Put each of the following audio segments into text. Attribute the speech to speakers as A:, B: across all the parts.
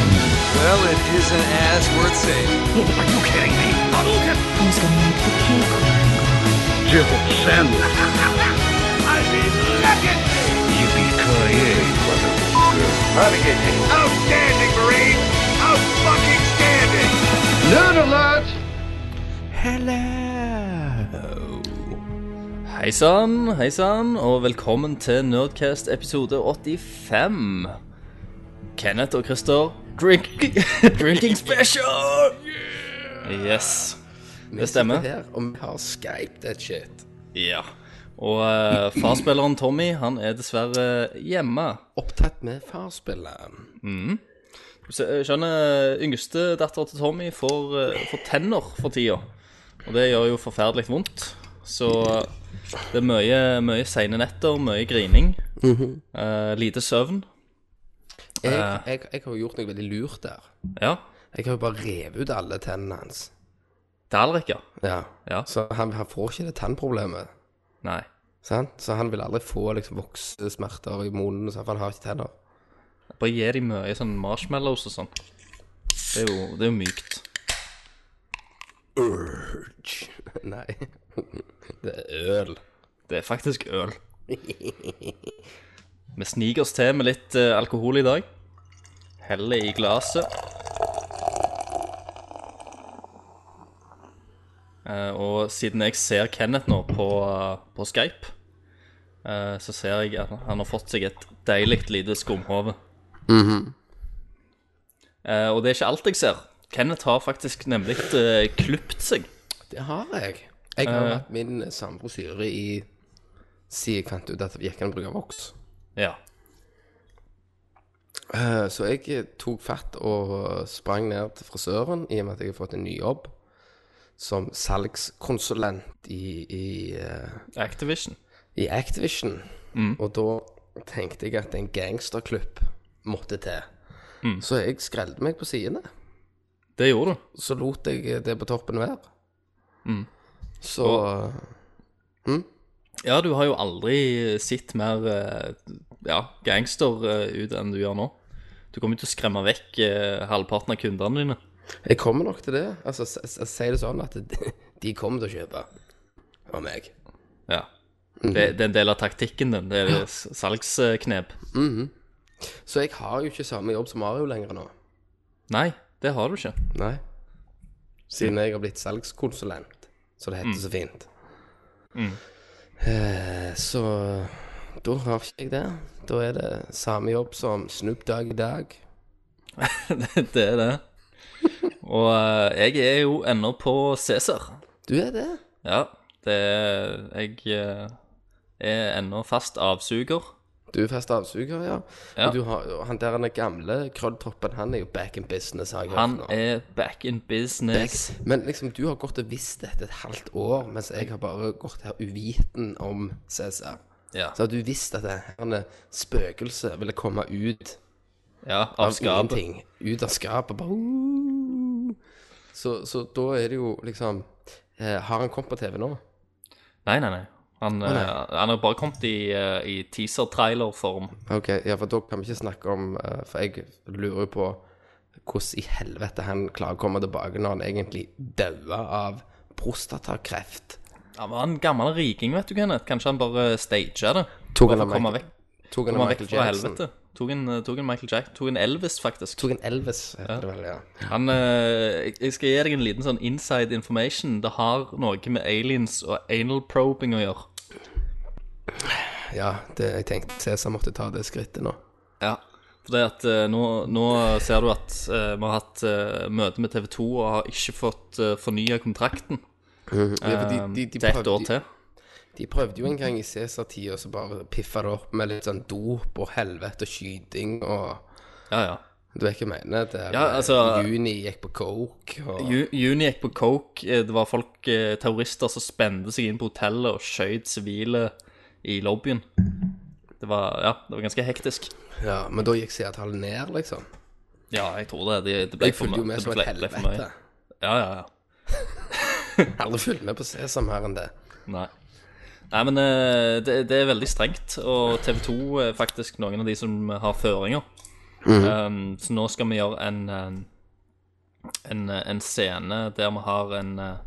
A: Well, it isn't as worth saving.
B: Are you kidding me? Hadouken!
C: Who's gonna make the cake line?
B: Jibble send. I mean, legendary! Yippee-ki-yay, motherfucker. Outstanding, Marine! Out-fucking-standing! Nerd alert!
D: Hello. Hei sann, hei sann, og velkommen til Nerdcast episode 85. Kenneth og Christer, drink, drinking special! Yes. Det
E: sitter
D: stemmer.
E: Her, og vi har Skype, that shit.
D: Ja. Og eh, farspilleren Tommy, han er dessverre hjemme.
E: Opptatt med farspillet.
D: Så, eh, Skjønner, yngste datter til Tommy får, eh, får tenner for tida. Og det gjør jo forferdelig vondt. Så eh, det er mye, mye seine netter, mye grining. eh, lite søvn.
E: Jeg, jeg, jeg har jo gjort noe veldig lurt der.
D: Ja.
E: Jeg har jo bare revet ut alle tennene hans.
D: Det er Alrik, ja.
E: Ja.
D: Ja.
E: Så han, han får ikke det tannproblemet.
D: Nei.
E: Sant? Så han vil aldri få liksom, voksesmerter i munnen, så han har ikke tenner.
D: Bare gi dem mye sånn marshmallows og sånn. Det er jo, det er jo mykt.
E: Urge. Nei. Det er øl.
D: Det er faktisk øl. Vi sniker oss til med litt eh, alkohol i dag. Heller i glasset. Eh, og siden jeg ser Kenneth nå på, eh, på Skype, eh, så ser jeg at han har fått seg et deilig lite skumhove. Eh, og det er ikke alt jeg ser. Kenneth har faktisk nemlig uh, klipt seg.
E: Det har jeg. Jeg har hatt min samboer syre i siden jeg fant ut at vi ikke kan bruke voks.
D: Ja.
E: Eh, Så jeg tok fatt og sprang ned til frisøren, i og med at jeg har fått en ny jobb som salgskonsulent i, i, eh,
D: Activision.
E: i Activision. Og da tenkte jeg at en gangsterklubb måtte til. Så jeg skrelte meg på sidene.
D: Det gjorde du.
E: Så lot jeg det på toppen være. Så eh,
D: Ja, du har jo aldri sett mer eh, ja, gangster eh, ut enn du gjør nå. Du kommer jo til å skremme vekk eh, halvparten av kundene dine.
E: jeg kommer nok til det. Altså, s- s- si det sånn at de- de kommer til å kjøpe av meg.
D: Ja.
E: Mhm.
D: Det, det er en del av taktikken din. Det er s- salgsknep.
E: Så jeg har jo ikke samme jobb som Mario lenger nå.
D: Nei, det har du ikke.
E: Nei. Siden jeg har blitt salgskonsulent, så det heter
D: Mm.
E: så fint. Eh, så da har ikke jeg det. Da er det samme jobb som Snoop Dogg i dag.
D: det er det. Og eh, jeg er jo ennå på Cæsar.
E: Du er det?
D: Ja, det er Jeg eh, er ennå fast avsuger.
E: Du er fast avsuger, ja.
D: Ja.
E: Og du har, og han der han er gamle krølltoppen, han er jo back in business, har jeg hørt
D: Han
E: nå.
D: er back in business.
E: Men liksom, du har gått og visst dette et halvt år, mens jeg har bare gått her uviten om CSR.
D: Ja.
E: Så har du visst at det her spøkelset ville komme ut
D: ja, av skapet.
E: ingenting. Ut av skapet. Bare, uh. så, så da er det jo liksom eh, Har han kommet på TV nå?
D: Nei, nei, nei. Han, eh, han har bare kommet i, eh, i teaser-trailer-form.
E: Ok, ja, for da kan vi ikke snakke om eh, For jeg lurer jo på hvordan i helvete han klarer å komme tilbake når han egentlig daua av prostatakreft.
D: Han var en gammel riking, vet du, Kenneth. Kanskje han bare staga det?
E: Tok han
D: Bare
E: av
D: for å komme
E: Michael-
D: vekk,
E: Tok han
D: komme
E: av
D: vekk
E: Michael
D: fra
E: Jackson?
D: helvete. Tok en, eh, tok en Michael Jack. Tok en Elvis, faktisk.
E: Tok han Elvis, heter det vel, ja.
D: Han, eh, jeg- jeg skal gi deg en liten sånn inside information. Det har noe med aliens og anal probing å gjøre.
E: Ja, det, jeg tenkte Cæsar måtte ta det skrittet nå.
D: Ja. Fordi at eh, nå, nå ser du at eh, vi har hatt eh, møte med TV 2 og har ikke fått uh, fornya kontrakten
E: Mhm. Ja, for de,
D: eh,
E: de, de,
D: til ett
E: prøvde-
D: år til.
E: De prøvde jo en gang i Cæsar-tida, så bare piffa det opp med litt sånn dop og helvete og skyting og
D: Ja, ja.
E: Du vet ikke hva jeg mener? Det
D: Ja, altså-
E: Juni gikk på coke og
D: Ju- Juni gikk på coke. eh, Det var folk, eh, terrorister som spente seg inn på hotellet og skjøt sivile i lobbyen. Det var, ja, det var ganske hektisk.
E: Ja, men da gikk Cæsar-tallet ned, liksom.
D: Ja, jeg tror det. Det, det ble
E: Jeg
D: for
E: fulgte jo
D: mye-
E: med
D: det
E: som et
D: ble- ble for mye.
E: helvete.
D: Ja, ja, ja.
E: Jeg har Aldri fulgt med på Cæsar mer enn det.
D: Nei. Nei, men eh, det, det er veldig strengt, og TV 2 er faktisk noen av de som har føringer.
E: Mhm.
D: Um, så nå skal vi gjøre en, um, en, en scene der vi har en, uh,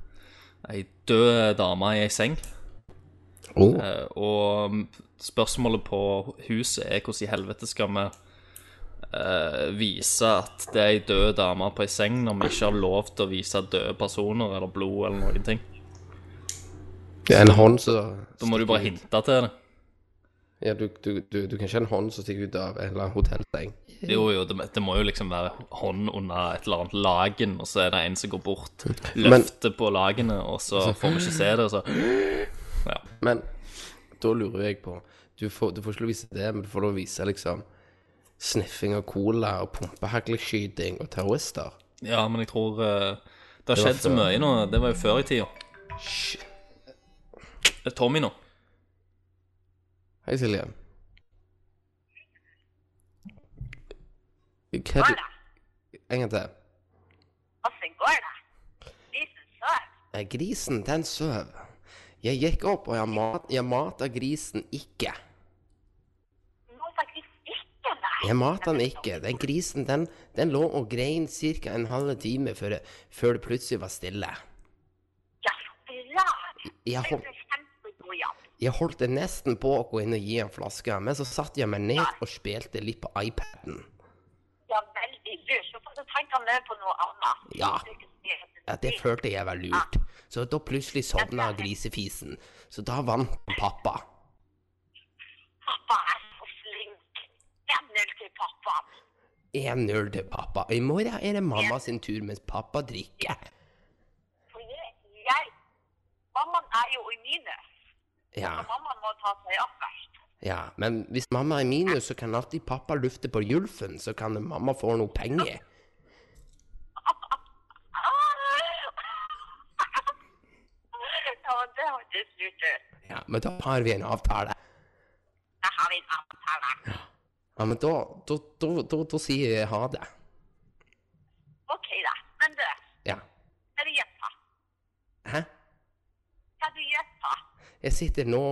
D: ei død dame i ei seng.
E: Oh.
D: Eh, Og spørsmålet på huset er hvordan i helvete skal vi eh, vise at det er ei død dame på ei seng, når vi ikke har lov til å vise døde personer eller blod eller noen ting.
E: Det er en hånd som
D: Da må du bare hinte til det.
E: Ja, du, du, du, du kan ikke ha en hånd som stikker ut av en eller annen hotellseng.
D: Jo, jo, det, det må jo liksom være hånd under et eller annet lagen, og så er det en som går bort, løfter på lagene, og så
E: Altså-
D: får vi ikke se det, og så
E: Men da lurer jeg på Du får, du får ikke lov å vise det, men du får lov å vise liksom sniffing av cola og pumpehagleskyting og terrorister.
D: Ja, men jeg tror eh, Det har
E: var
D: skjedd så
E: før.
D: mye nå. Det var jo før i tida.
E: Hysj.
D: Det er Tommy nå.
E: Hei, Silje. Hva er det En gang til.
F: Åssen går det? Liten sør?
E: Eh, Grisen, den søv. Jeg gikk opp, og jeg, mat, jeg mata grisen ikke.
F: Nå faktisk ikke, nei.
E: Jeg mata den ikke. Den grisen, den, den lå og grein ca. en halv time før, det- før det plutselig var stille.
F: Ja, så bra.
E: Jeg,
F: Det
E: hol-
F: er en kjempegod jobb.
E: jeg holdt det nesten på å gå inn og gi en flaske, men så satte jeg meg ned og spilte litt på iPaden.
F: Ja, veldig lurt. Så får du tenke mer på noe annet.
E: Ja. Ja, det
F: føler
E: følte jeg var lurt. Så da plutselig sovna grisefisen. Så da vant pappa.
F: Pappa er så flink. En null til pappa.
E: 1-0 til pappa. I morgen er det mamma sin tur, mens pappa drikker.
F: For jeg, jeg Mammaen er jo i minus.
E: Ja,
F: Så mammaen må ta seg opp først.
E: ja. Men hvis mamma er i minus, så kan alltid pappa lufte på Julfen, så kan mamma få noe penger.
F: Ja, det hørtes lurt ut.
E: Ja, men da har vi en avtale.
F: Da har vi en avtale.
E: Ja, men da, da, da, da, da sier jeg ha det.
F: OK, da. Men du,
E: Ja.
F: hva du gjør på?
E: Hæ?
F: Hva du gjør på?
E: Jeg sitter nå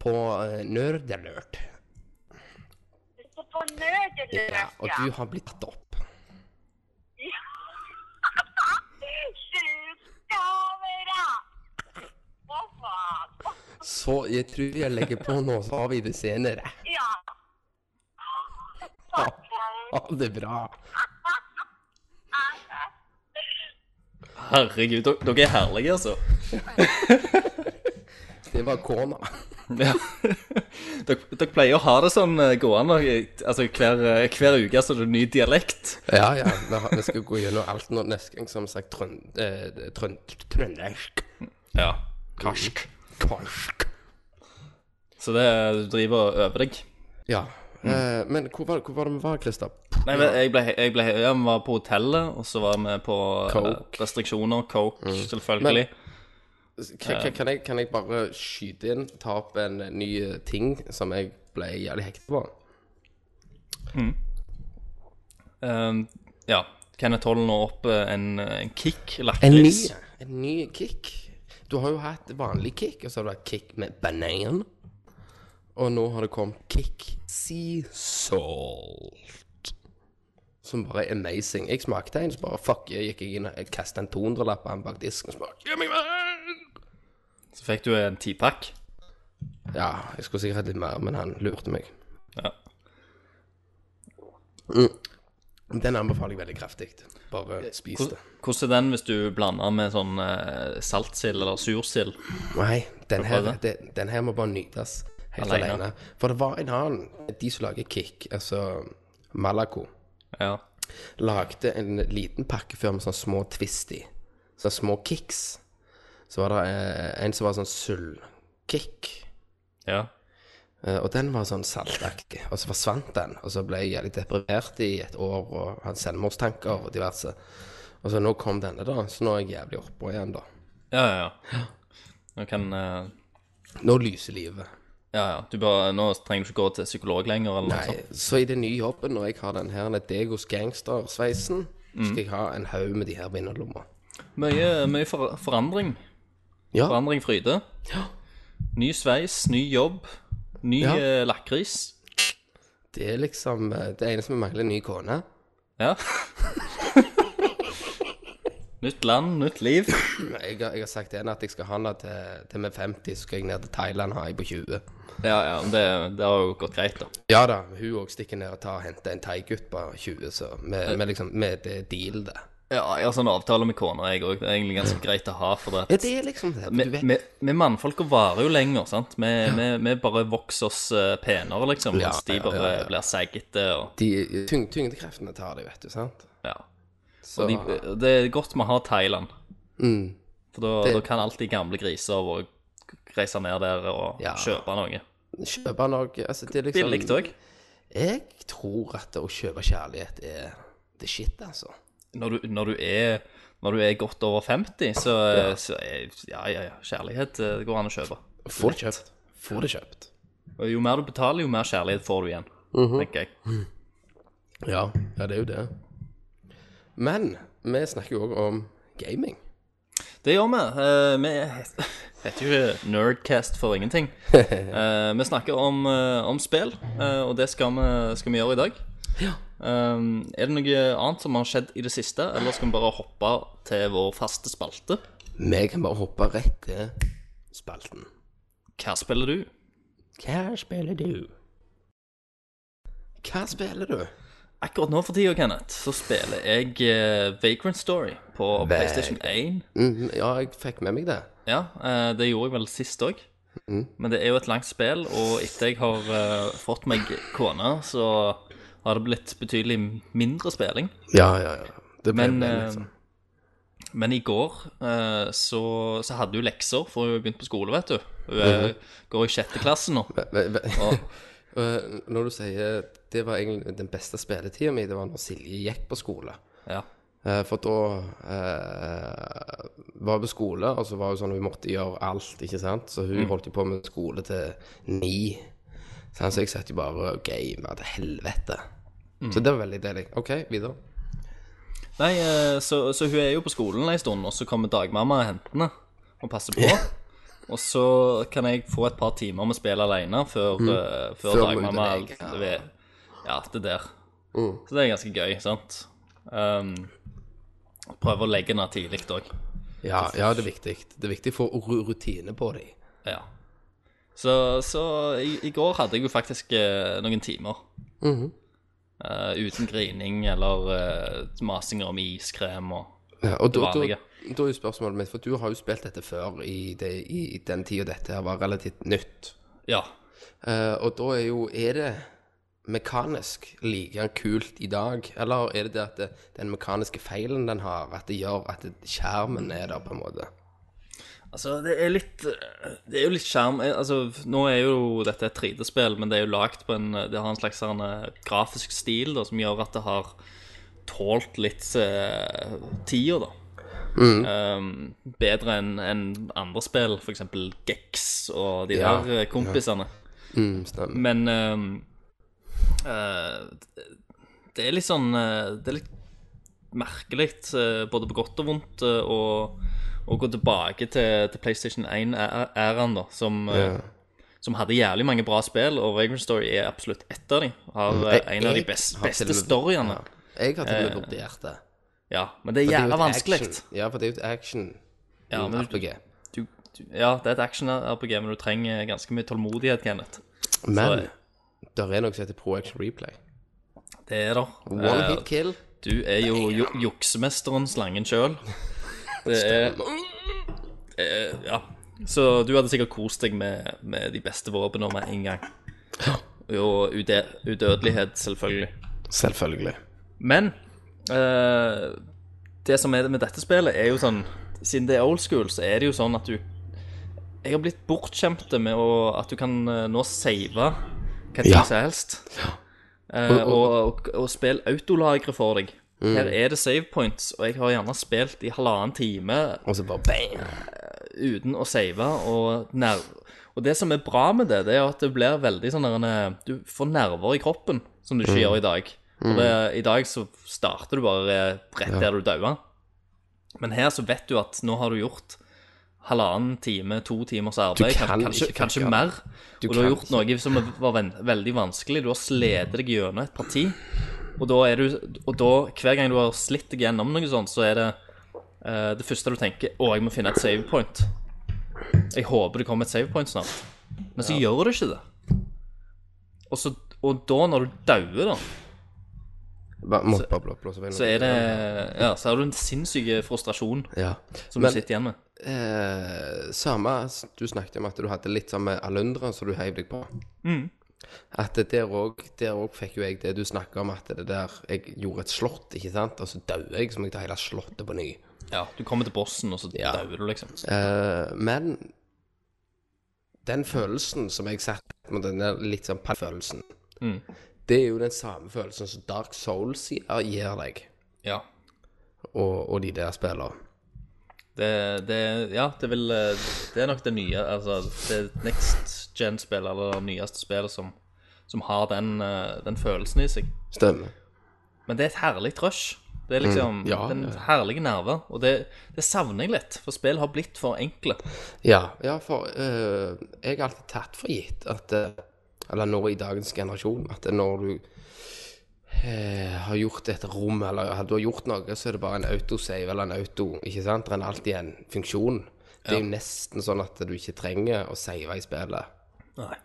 E: på uh, Nerdelert.
F: Du sitter på nødeløs,
E: Ja, og du har blitt tatt opp.
F: Sjukkamera! Hva faen?
E: Så jeg tror jeg legger på nå, så har vi det senere.
F: Ja.
E: Ha ha det bra.
D: Herregud, dere- dere er herlige, altså.
E: Det var kona.
D: Ja. Dere, dere pleier å ha det sånn eh, gående eh, altså hver, eh, hver uke så er det en ny dialekt.
E: Ja, ja. Vi, har, vi skal gå gjennom alt nå neste gang, som sagt, trønd... Eh, trønd trøndersk.
D: Ja. Karsk.
E: Karsk.
D: Så det er- du driver og øver deg.
E: Ja. Eh, men hvor var, hvor var det vi var, Christer?
D: Nei, men jeg ble, jeg ble ja, Vi var på hotellet, og så var vi på eh,
E: Coke.
D: restriksjoner. Coke, selvfølgelig.
E: Kan, kan- kan, jeg, kan jeg bare skyte inn, ta opp en ny eh, ting som jeg ble jævlig hekta på?
D: Ehm, ja. Kenneth holder nå opp eh, en, en kick
E: En ny,
D: lakris.
E: en ny kick. Du har jo hatt vanlig kick, og så har du hatt kick med banan. Og nå har det kommet kick sea salt. Som bare er amazing. Jeg smakte en, så bare fuck, jeg gikk inn og kastet en 200-lapp på den bak disken. og så bare, «Gi meg mer!»
D: Så fikk du en tipakk.
E: Ja, jeg skulle sikkert hatt litt mer, men han lurte meg.
D: Ja.
E: Den anbefaler jeg veldig kraftig. Bare spis det.
D: Hvordan er den hvis du blander med sånn eh, saltsild eller sursild?
E: Nei, den her,
D: prøve?
E: den, den her må bare nytes helt
D: Alene.
E: alene. For det var en annen, de som lager Kick, altså Malaco,
D: Ja.
E: lagde en liten pakke før med sånne små twisty, sånne små kicks. Så var det eh, en som var sånn sølvkick,
D: ja.
E: eh, og den var sånn saltaktig, og så forsvant den, og så ble jeg jævlig deprivert i et år, og hadde selvmordstanker og diverse. Og så nå kom denne da, så nå er jeg jævlig oppå igjen da.
D: Ja, ja, ja. Nå kan eh,
E: Nå lyser livet.
D: Ja, ja. Du bare, nå trenger du ikke gå til psykolog lenger, eller noe sånt.
E: Nei, så i den nye jobben, når jeg har den her den Degos gangstersveisen, skal jeg ha en haug med de her på innerlomma.
D: Mye, mye for, forandring.
E: Ja.
D: Forandring fryde. Ny sveis, ny jobb, ny
E: Ja.
D: eh, lakris.
E: Det er liksom eh, Det eneste vi mangler, er en ny kone.
D: Ja. nytt land, nytt liv.
E: Jeg har, jeg har sagt til henne at jeg skal ha henne til, til vi er 50, så skal jeg ned til Thailand ha ei på 20.
D: Ja, ja, men det, det har jo gått greit, da.
E: Ja da, hun òg stikker ned og tar og henter en thaigutt på 20, så vi, vi liksom vi, Det er deal, det.
D: Ja, jeg har sånn avtale med kona, jeg òg. Det er egentlig ganske greit å ha. for det.
E: Ja, det er liksom det.
D: Vi,
E: Du vet.
D: vi, vi mannfolka varer jo lenger, sant. Vi, vi, vi bare vokser oss eh, penere, liksom.
E: Ja,
D: mens de
E: ja,
D: bare
E: ja, ja.
D: blir seigete og
E: De tyng, tyngdekreftene tar det, vet du, sant?
D: Ja.
E: Så
D: Og de, det er godt vi har Thailand.
E: mm,
D: For da,
E: Det-
D: da kan alltid gamle griser våre reise ned der og
E: Ja.
D: kjøpe noe.
E: Kjøpe noe altså, det er liksom,
D: Billig òg.
E: Jeg tror at det å kjøpe kjærlighet er det shit, altså.
D: Når, du- når, du er- når du er godt over 50, så, så er ja, ja, ja, kjærlighet eh, det går an å kjøpe.
E: Få det kjøpt. Få det kjøpt.
D: Og jo mer du betaler, jo mer kjærlighet får du igjen,
E: Mhm.
D: tenker jeg.
E: Ja, ja, det er jo det. Men vi snakker jo òg om gaming.
D: Det gjør vi. Eh, vi het- heter jo ikke Nerdcast for ingenting. Eh, vi snakker om, eh, om spill, eh, og det skal vi, skal vi gjøre i dag. Eh, er det noe annet som har skjedd i det siste, eller skal vi bare hoppe til vår faste spalte?
E: Vi kan bare hoppe rett til spalten.
D: Hva spiller du?
E: Hva spiller du? Hva spiller du?
D: Akkurat nå for tida, Kenneth, så spiller jeg eh, Vagrant Story på PlayStation 1.
E: Mm, ja, jeg fikk med meg det.
D: Ja, eh, det gjorde jeg vel sist òg. Men det er jo et langt spill, og etter jeg har eh, fått meg kone, så har det blitt betydelig mindre spilling.
E: Ja, ja, ja. Det ble
D: Men, ehm,
E: vel liksom.
D: eh, men i går eh, så, så hadde hun lekser, for hun begynte på skole, vet du. Hun eh, går i sjette klasse nå.
E: Ve- ve-
D: Og,
E: Eh, Når du sier det var egentlig den beste spilletida mi, det var når Silje gikk på skole.
D: ja.
E: Eh, For da eh, var hun på skole, og så var hun sånn hun måtte gjøre alt, ikke sant. Så hun holdt jo på med skole til ni. Sant? Så jeg satt jo bare og gama til helvete. Så det var veldig deilig. OK, videre.
D: Nei, eh, så, så hun er jo på skolen en stund, og så kommer dagmamma og henter henne og passer på. Og så kan jeg få et par timer med spill alene før, eh, før,
E: Før
D: dagmamma
E: mor deg, ja.
D: ved- Ja, det der. Så det er ganske gøy, sant? Um, prøve å legge henne tidlig òg.
E: Ja, ja, det er viktig. Det er viktig å få ru- rutine på dem.
D: Ja. Så, så i, i går hadde jeg jo faktisk eh, noen timer. Eh, uten grining eller eh, masinger om iskrem og
E: Ja, og
D: Det
E: da, da,
D: vanlige.
E: da er jo spørsmålet mitt, for du har jo spilt dette før i, det, i den tida dette her var relativt nytt.
D: Ja.
E: Eh, og da er jo Er det mekanisk like kult i dag, eller er det det at det, den mekaniske feilen den har, at det gjør at det, skjermen er der, på en måte?
D: Altså, det er litt Det er jo litt skjerm eh, Altså, nå er jo dette et 3D-spill, men det er jo lagt på en Det har en slags sånn eh, grafisk stil da, som gjør at det har tålt litt uh, tida, da. Eh, bedre enn enn andre spill, f.eks. Gex og de
E: Ja,
D: der eh, kompisene.
E: Mm, stemmer.
D: Men ehm, eh, Det er litt sånn eh, Det er litt merkelig, eh, både på godt og vondt, eh, å, å gå tilbake til, til PlayStation 1-æraen, da, som, eh,
E: Ja.
D: som hadde jævlig mange bra spill, og Vagrant Story er absolutt ett av dem. Har eh,
E: Mm. Jeg-
D: en av de
E: jeg
D: best,
E: har til og
D: beste
E: med-
D: storyene.
E: Ja. Jeg har til og med vurdert det.
D: Ja, men det er
E: Det er jo
D: jævla
E: et
D: vanskelig.
E: action- Ja, for det er jo et action
D: Ja,
E: i
D: men du-
E: RPG.
D: Du, du, ja, det er et action-RPG, men du trenger ganske mye tålmodighet, Kenneth.
E: Men der er noe som heter Pro Action Replay.
D: Det er det.
E: One
D: Eh,
E: hit kill.
D: Du er jo ju juksemesteren Slangen sjøl. Det er det er- Ja. Så du hadde sikkert kost deg med, med de beste våpnene med en gang. Og ude, udødelighet, selvfølgelig.
E: Selvfølgelig.
D: Men eh, det som er med dette spillet, er jo sånn Siden det er old school, så er det jo sånn at du Jeg har blitt bortskjemt med å, at du kan eh, nå save hva tid
E: Ja.
D: som helst. Eh, og, og, og spille autolagre for deg. Her er det save points, og jeg har gjerne spilt i halvannen time
E: Og så bare bang.
D: uten å save. Og, ner og det som er bra med det, det er at det blir veldig sånn der en, Du får nerver i kroppen som du ikke gjør i dag. For det, i dag så starter du bare rett der du daua. Men her så vet du at nå har du gjort halvannen time, to timers arbeid,
E: kan
D: kan,
E: ikke
D: kanskje, kanskje
E: fucke
D: mer.
E: Du
D: og du har
E: kan
D: gjort noe som var ven- veldig vanskelig. Du har slitt deg gjennom et parti. Og da er du Og da, hver gang du har slitt deg gjennom noe sånt, så er det eh, det første du tenker Å, jeg må finne et save point. Jeg håper det kommer et save point snart. Men så gjør det ikke det. Og, så, og da, når du dauer, da,
E: Bare, måtte bare blå- blåse opp i noe.
D: så er det Ja, så har du en sinnssyk frustrasjon
E: Ja.
D: som
E: Men-
D: du sitter igjen med.
E: Eh, samme s- Du snakket om at du hadde litt sånn med alundra som du heiv deg på. At det der òg Der òg fikk jo jeg det du snakka om, at det der Jeg gjorde et slott, ikke sant, og så dauer jeg, så må jeg ta hele slottet på ny.
D: Ja, du kommer til bossen, og så
E: Ja.
D: dauer du, liksom.
E: Eh, men den følelsen som jeg satt med, den der litt sånn følelsen det er jo den samme følelsen som Dark Souls gir deg,
D: Ja.
E: og, og de der spillene.
D: Det, det, ja, det, vil, eh, det er nok det nye Altså, det next gen-spillet, eller det nyeste spillet, som, som har den, eh, den følelsen i seg.
E: Stemmer.
D: Men det er et herlig rush. Det er liksom
E: Mm, ja,
D: den
E: ja.
D: herlige nerve. Og det, det savner jeg litt, for spill har blitt for enkle.
E: Ja, ja for eh, jeg har alltid tatt for gitt at eh, Eller nå i dagens generasjon, at når du eh, har gjort et rom, eller har- du har gjort noe, så er det bare en autosave eller en auto. Ikke sant? Det er alltid en funksjon. Det er jo nesten sånn at du ikke trenger å save i spillet.
D: Nei.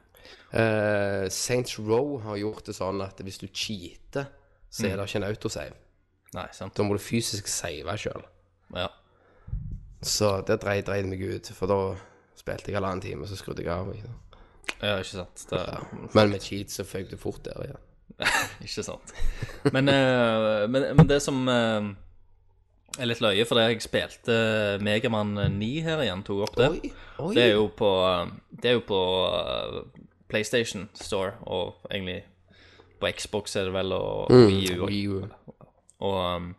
E: Eh, Saints Row har gjort det sånn at hvis du cheater, så er det ikke en autosave.
D: Nei, sant.
E: Da må du fysisk save sjøl.
D: Ja.
E: Så det dreide dreide meg ut, for da spilte jeg halvannen time, så skrudde jeg av. Ikke sant?
D: ja, ikke sant. Det,
E: Men med cheat så føk du fort der igjen.
D: Ikke sant. Men, eh, men, men det som eh, er litt løye, for det jeg spilte eh, Megaman 9 her igjen, tok opp det.
E: oi.
D: Det er jo på, eh, det er jo på eh, PlayStation Store, og egentlig på Xbox er det vel, og mm. Wii U og
E: Wii U.
D: og, um,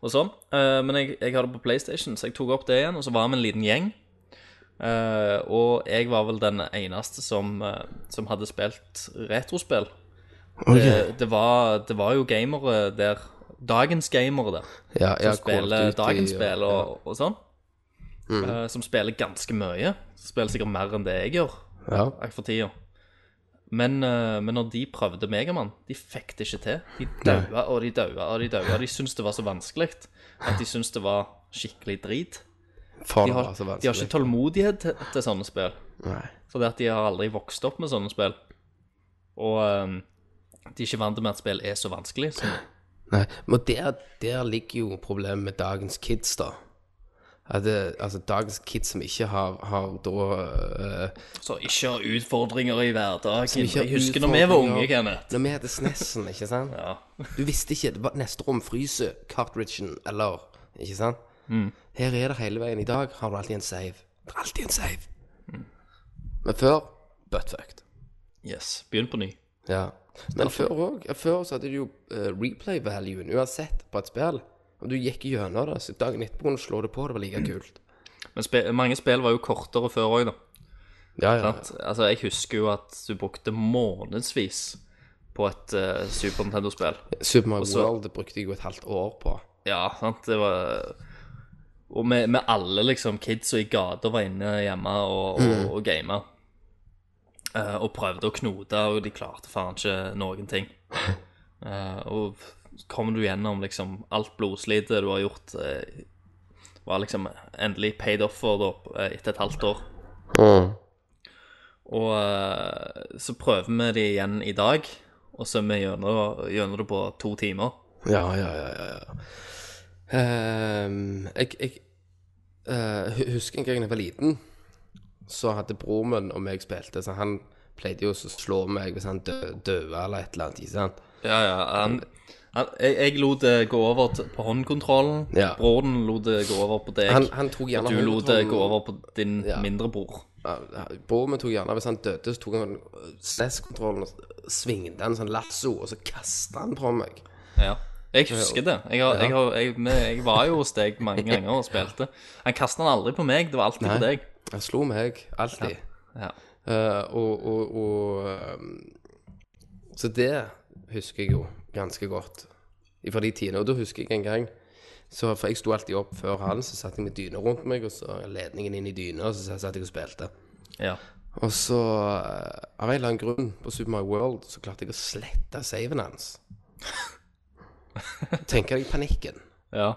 D: og sånn. Eh, men jeg, jeg har det på PlayStation, så jeg tok opp det igjen, og så var vi en liten gjeng. Eh, og jeg var vel den eneste som, eh, som hadde spilt retrospill. Det, det, var, det var jo gamere der. Dagens gamere der
E: Ja, ja,
D: som spiller dagens spill og, og sånn. Eh, som spiller ganske mye. Spiller sikkert mer enn det jeg gjør
E: Ja.
D: akkurat for tida. Men, eh, men når de prøvde Megamann, de fikk det ikke til. De daua og de daua og de daua. De syntes det var så vanskelig at de syntes det var skikkelig drit.
E: For
D: De
E: det
D: har,
E: var så
D: de har ikke
E: altså, vanskelig.
D: tålmodighet til, til sånne spill.
E: Nei.
D: Fordi at de har aldri vokst opp med sånne spill. Og eh, de er ikke vant med at spill er så vanskelig. Så
E: Nei. Men der, der ligger jo problemet med dagens kids, da. At det, altså, dagens kids som ikke har, har da eh,
D: Så ikke har utfordringer i hverdagen.
E: ikke har
D: Jeg husker når vi var
E: utfordringer.
D: unge, Kenneth.
E: Når vi heter Snessen, ikke sant?
D: Ja.
E: Du visste ikke. det var Neste rom fryser cartridgen, eller Ikke sant?
D: Mm.
E: Her er det hele veien. I dag har du alltid en save. Det er alltid en save.
D: Mm.
E: Men før buttfucked.
D: Yes. Begynn på ny.
E: Ja. Men før òg. Før så hadde du jo eh, replay valuen uansett på et spill. Om du gikk gjennom det, så dagen etterpå kunne du slå det på, det var like kult.
D: Mm. Men spe mange spill var jo kortere før òg, da.
E: Ja, ja.
D: Sant? Altså, jeg husker jo at du brukte månedsvis på et eh, Super Nintendo-spill.
E: Super Mario
D: så-
E: World det brukte jeg jo et halvt år på.
D: Ja, sant. Det var Og med, med alle liksom kidsa i gata var inne hjemme og, og, og gama. Eh, og prøvde å knote, og de klarte faen ikke noen ting. Eh, og kommer du gjennom liksom alt blodslitet du har gjort, eh, var liksom endelig paid off for da, eh, etter et halvt år. Og eh, så prøver vi det igjen i dag, og så er vi gjennom gjennom det på to timer.
E: Ja, ja, ja, ja. ja. Ehm, jeg jeg eh, hu- husker en gang jeg var liten, så hadde bror min og meg spilte, så han pleide jo å slå meg hvis han dø- døde eller et eller annet. ikke sant?
D: Ja, ja. Han, han, jeg, jeg lot det gå over til, på håndkontrollen.
E: Ja.
D: Broren lot det gå over på deg.
E: Han, han tok gjerne
D: og du lot det gå over på din
E: Ja.
D: mindre bror.
E: Ja, Bror min tok gjerne Hvis han døde, så tok han øh, SNES-kontrollen og s- svingte en sånn lasso, og så kasta han på meg.
D: Ja. Jeg husker det. Jeg, har, jeg, har, jeg, vi- jeg var jo hos deg mange ganger og spilte. Han kasta den aldri på meg, det var alltid på
E: Nei.
D: deg.
E: Han slo meg alltid.
D: Ja.
E: Eh, og og, og ehm, Så det husker jeg jo ganske godt fra de tidene. Og da husker jeg en gang Så, for jeg sto alltid opp før han, så satt jeg med dyna rundt meg, og så ledningen inn i dyna, og så satt jeg og spilte.
D: Ja.
E: Og så, eh, av en eller annen grunn, på Super Mario World, så klarte jeg å slette saven hans. Tenker deg panikken.
D: ja.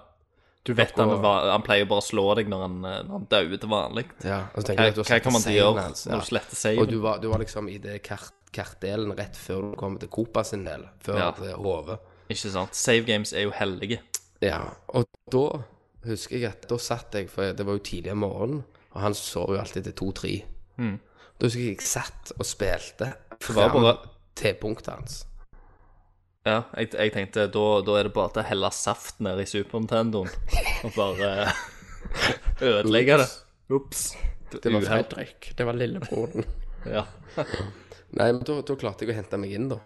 D: Du vet han, var- han pleier bare å slå deg når han, eh, når han dauer til vanlig.
E: Ja, og så tenker
D: Hva,
E: jeg at du
D: hva
E: har slettet
D: kan man
E: saven
D: gjøre
E: hans, ja.
D: når du sletter
E: altså. Og du
D: saven?
E: var, du var liksom i det kart, kartdelen rett før du kom til Copa sin del, før
D: Ja.
E: det hodet.
D: Ikke sant? Save games er jo hellige.
E: Ja, og da husker jeg at da satt jeg, for det var jo tidlig om morgenen, og han sov jo alltid til to-tre. Da husker jeg jeg satt og spilte
D: Mm. var
E: fram
D: bare-
E: til punktet hans.
D: Ja, jeg, jeg tenkte da, da er det bare til å helle saft ned i Super Nintendoen og bare ødelegge det. Ops.
E: Det var Fredrik, det var lillebroren.
D: Ja.
E: Nei, men da, da klarte jeg å hente meg inn, da.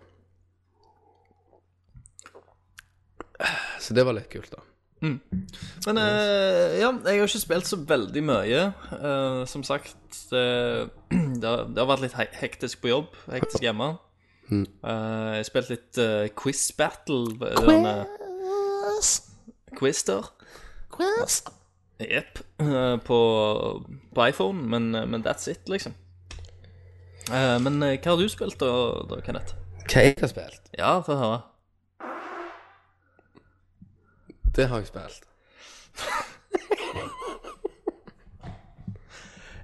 E: Så det var litt kult, da.
D: Men eh, ja, jeg har ikke spilt så veldig mye. Eh, som sagt, det, det, har, det har vært litt he- hektisk på jobb, hektisk hjemme. Eh, jeg har spilt litt eh, quiz battle. eh, Quiz! Quister. Quiz! Jepp. eh, på, på iPhone, men, men that's it, liksom. Eh, men eh, hva har du spilt da, da Kenneth?
E: Hva jeg har spilt,
D: Ja, få høre.
E: det har jeg spilt.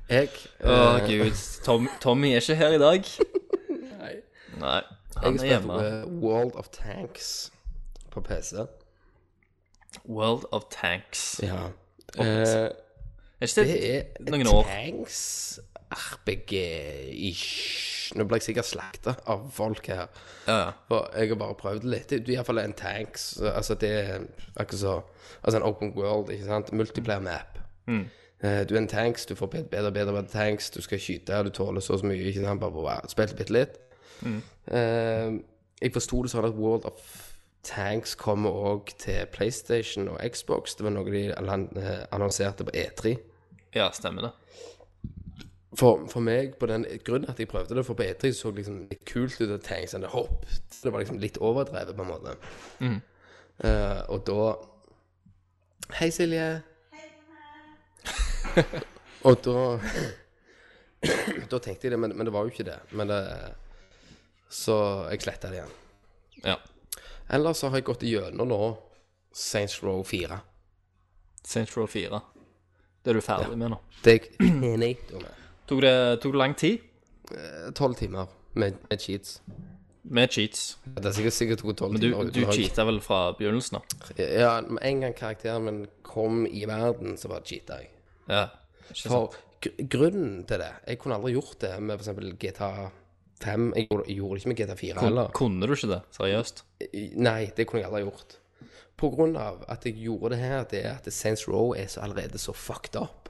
E: jeg
D: Å,
E: eh,
D: gud. Tom, Tommy er ikke her i dag.
E: Nei.
D: Nei,
E: Jeg
D: han er hjemme.
E: spilte eh, World of Tanks på PC.
D: World of Tanks.
E: Ja. Eh,
D: Er ikke
E: det
D: det,
E: er
D: noen
E: et
D: år?
E: tanks RPG-ish. Nå ble jeg sikkert slakta av folk her.
D: Ja, ja.
E: For jeg har bare prøvd det litt. Det er iallfall en tanks. Altså, det er akkurat så Altså en open world, ikke sant. Multiplayer map. Eh, Du er en tanks, du får bedre bedre bedre, bedre tanks, du skal skyte, du tåler så og så mye, ikke sant. Bare bare spilte bitte litt. Eh, jeg forsto det sånn at World of Tanks kommer òg til PlayStation og Xbox. Det var noe de lan- eh, annonserte på E3.
D: ja, stemmer det.
E: For, for meg, på den grunnen at jeg prøvde det, for på E3 så det liksom litt kult ut, og tenkte sånn, det hopp. Det var liksom litt overdrevet, på en måte.
D: Mm.
E: Eh, og da Hei, Silje. og da Da tenkte jeg det, men, men det var jo ikke det. Men det Så jeg sletta det igjen.
D: Ja.
E: Ellers så har jeg gått gjennom nå Saints Row 4.
D: Saints Row 4. Det er du ferdig med nå.
E: Det er jeg enig med.
D: Tok det, tok det lang tid?
E: Tolv timer med, med cheats.
D: Med cheats.
E: Det er sikkert sikkert to tolv
D: Men du,
E: timer. uten
D: du
E: å ha-
D: cheata vel fra begynnelsen av?
E: Ja, med en gang karakteren min kom i verden, så bare cheata jeg.
D: Ja. Ikke sant?
E: For gr grunnen til det Jeg kunne aldri gjort det med f.eks. GTA 5. Jeg gjorde, jeg gjorde det ikke med GTA 4
D: Kun-
E: heller.
D: Kunne du ikke det? Seriøst?
E: Nei, det kunne jeg aldri gjort. På grunn av at jeg gjorde det her, det er at Saints Row er så allerede så fucked up.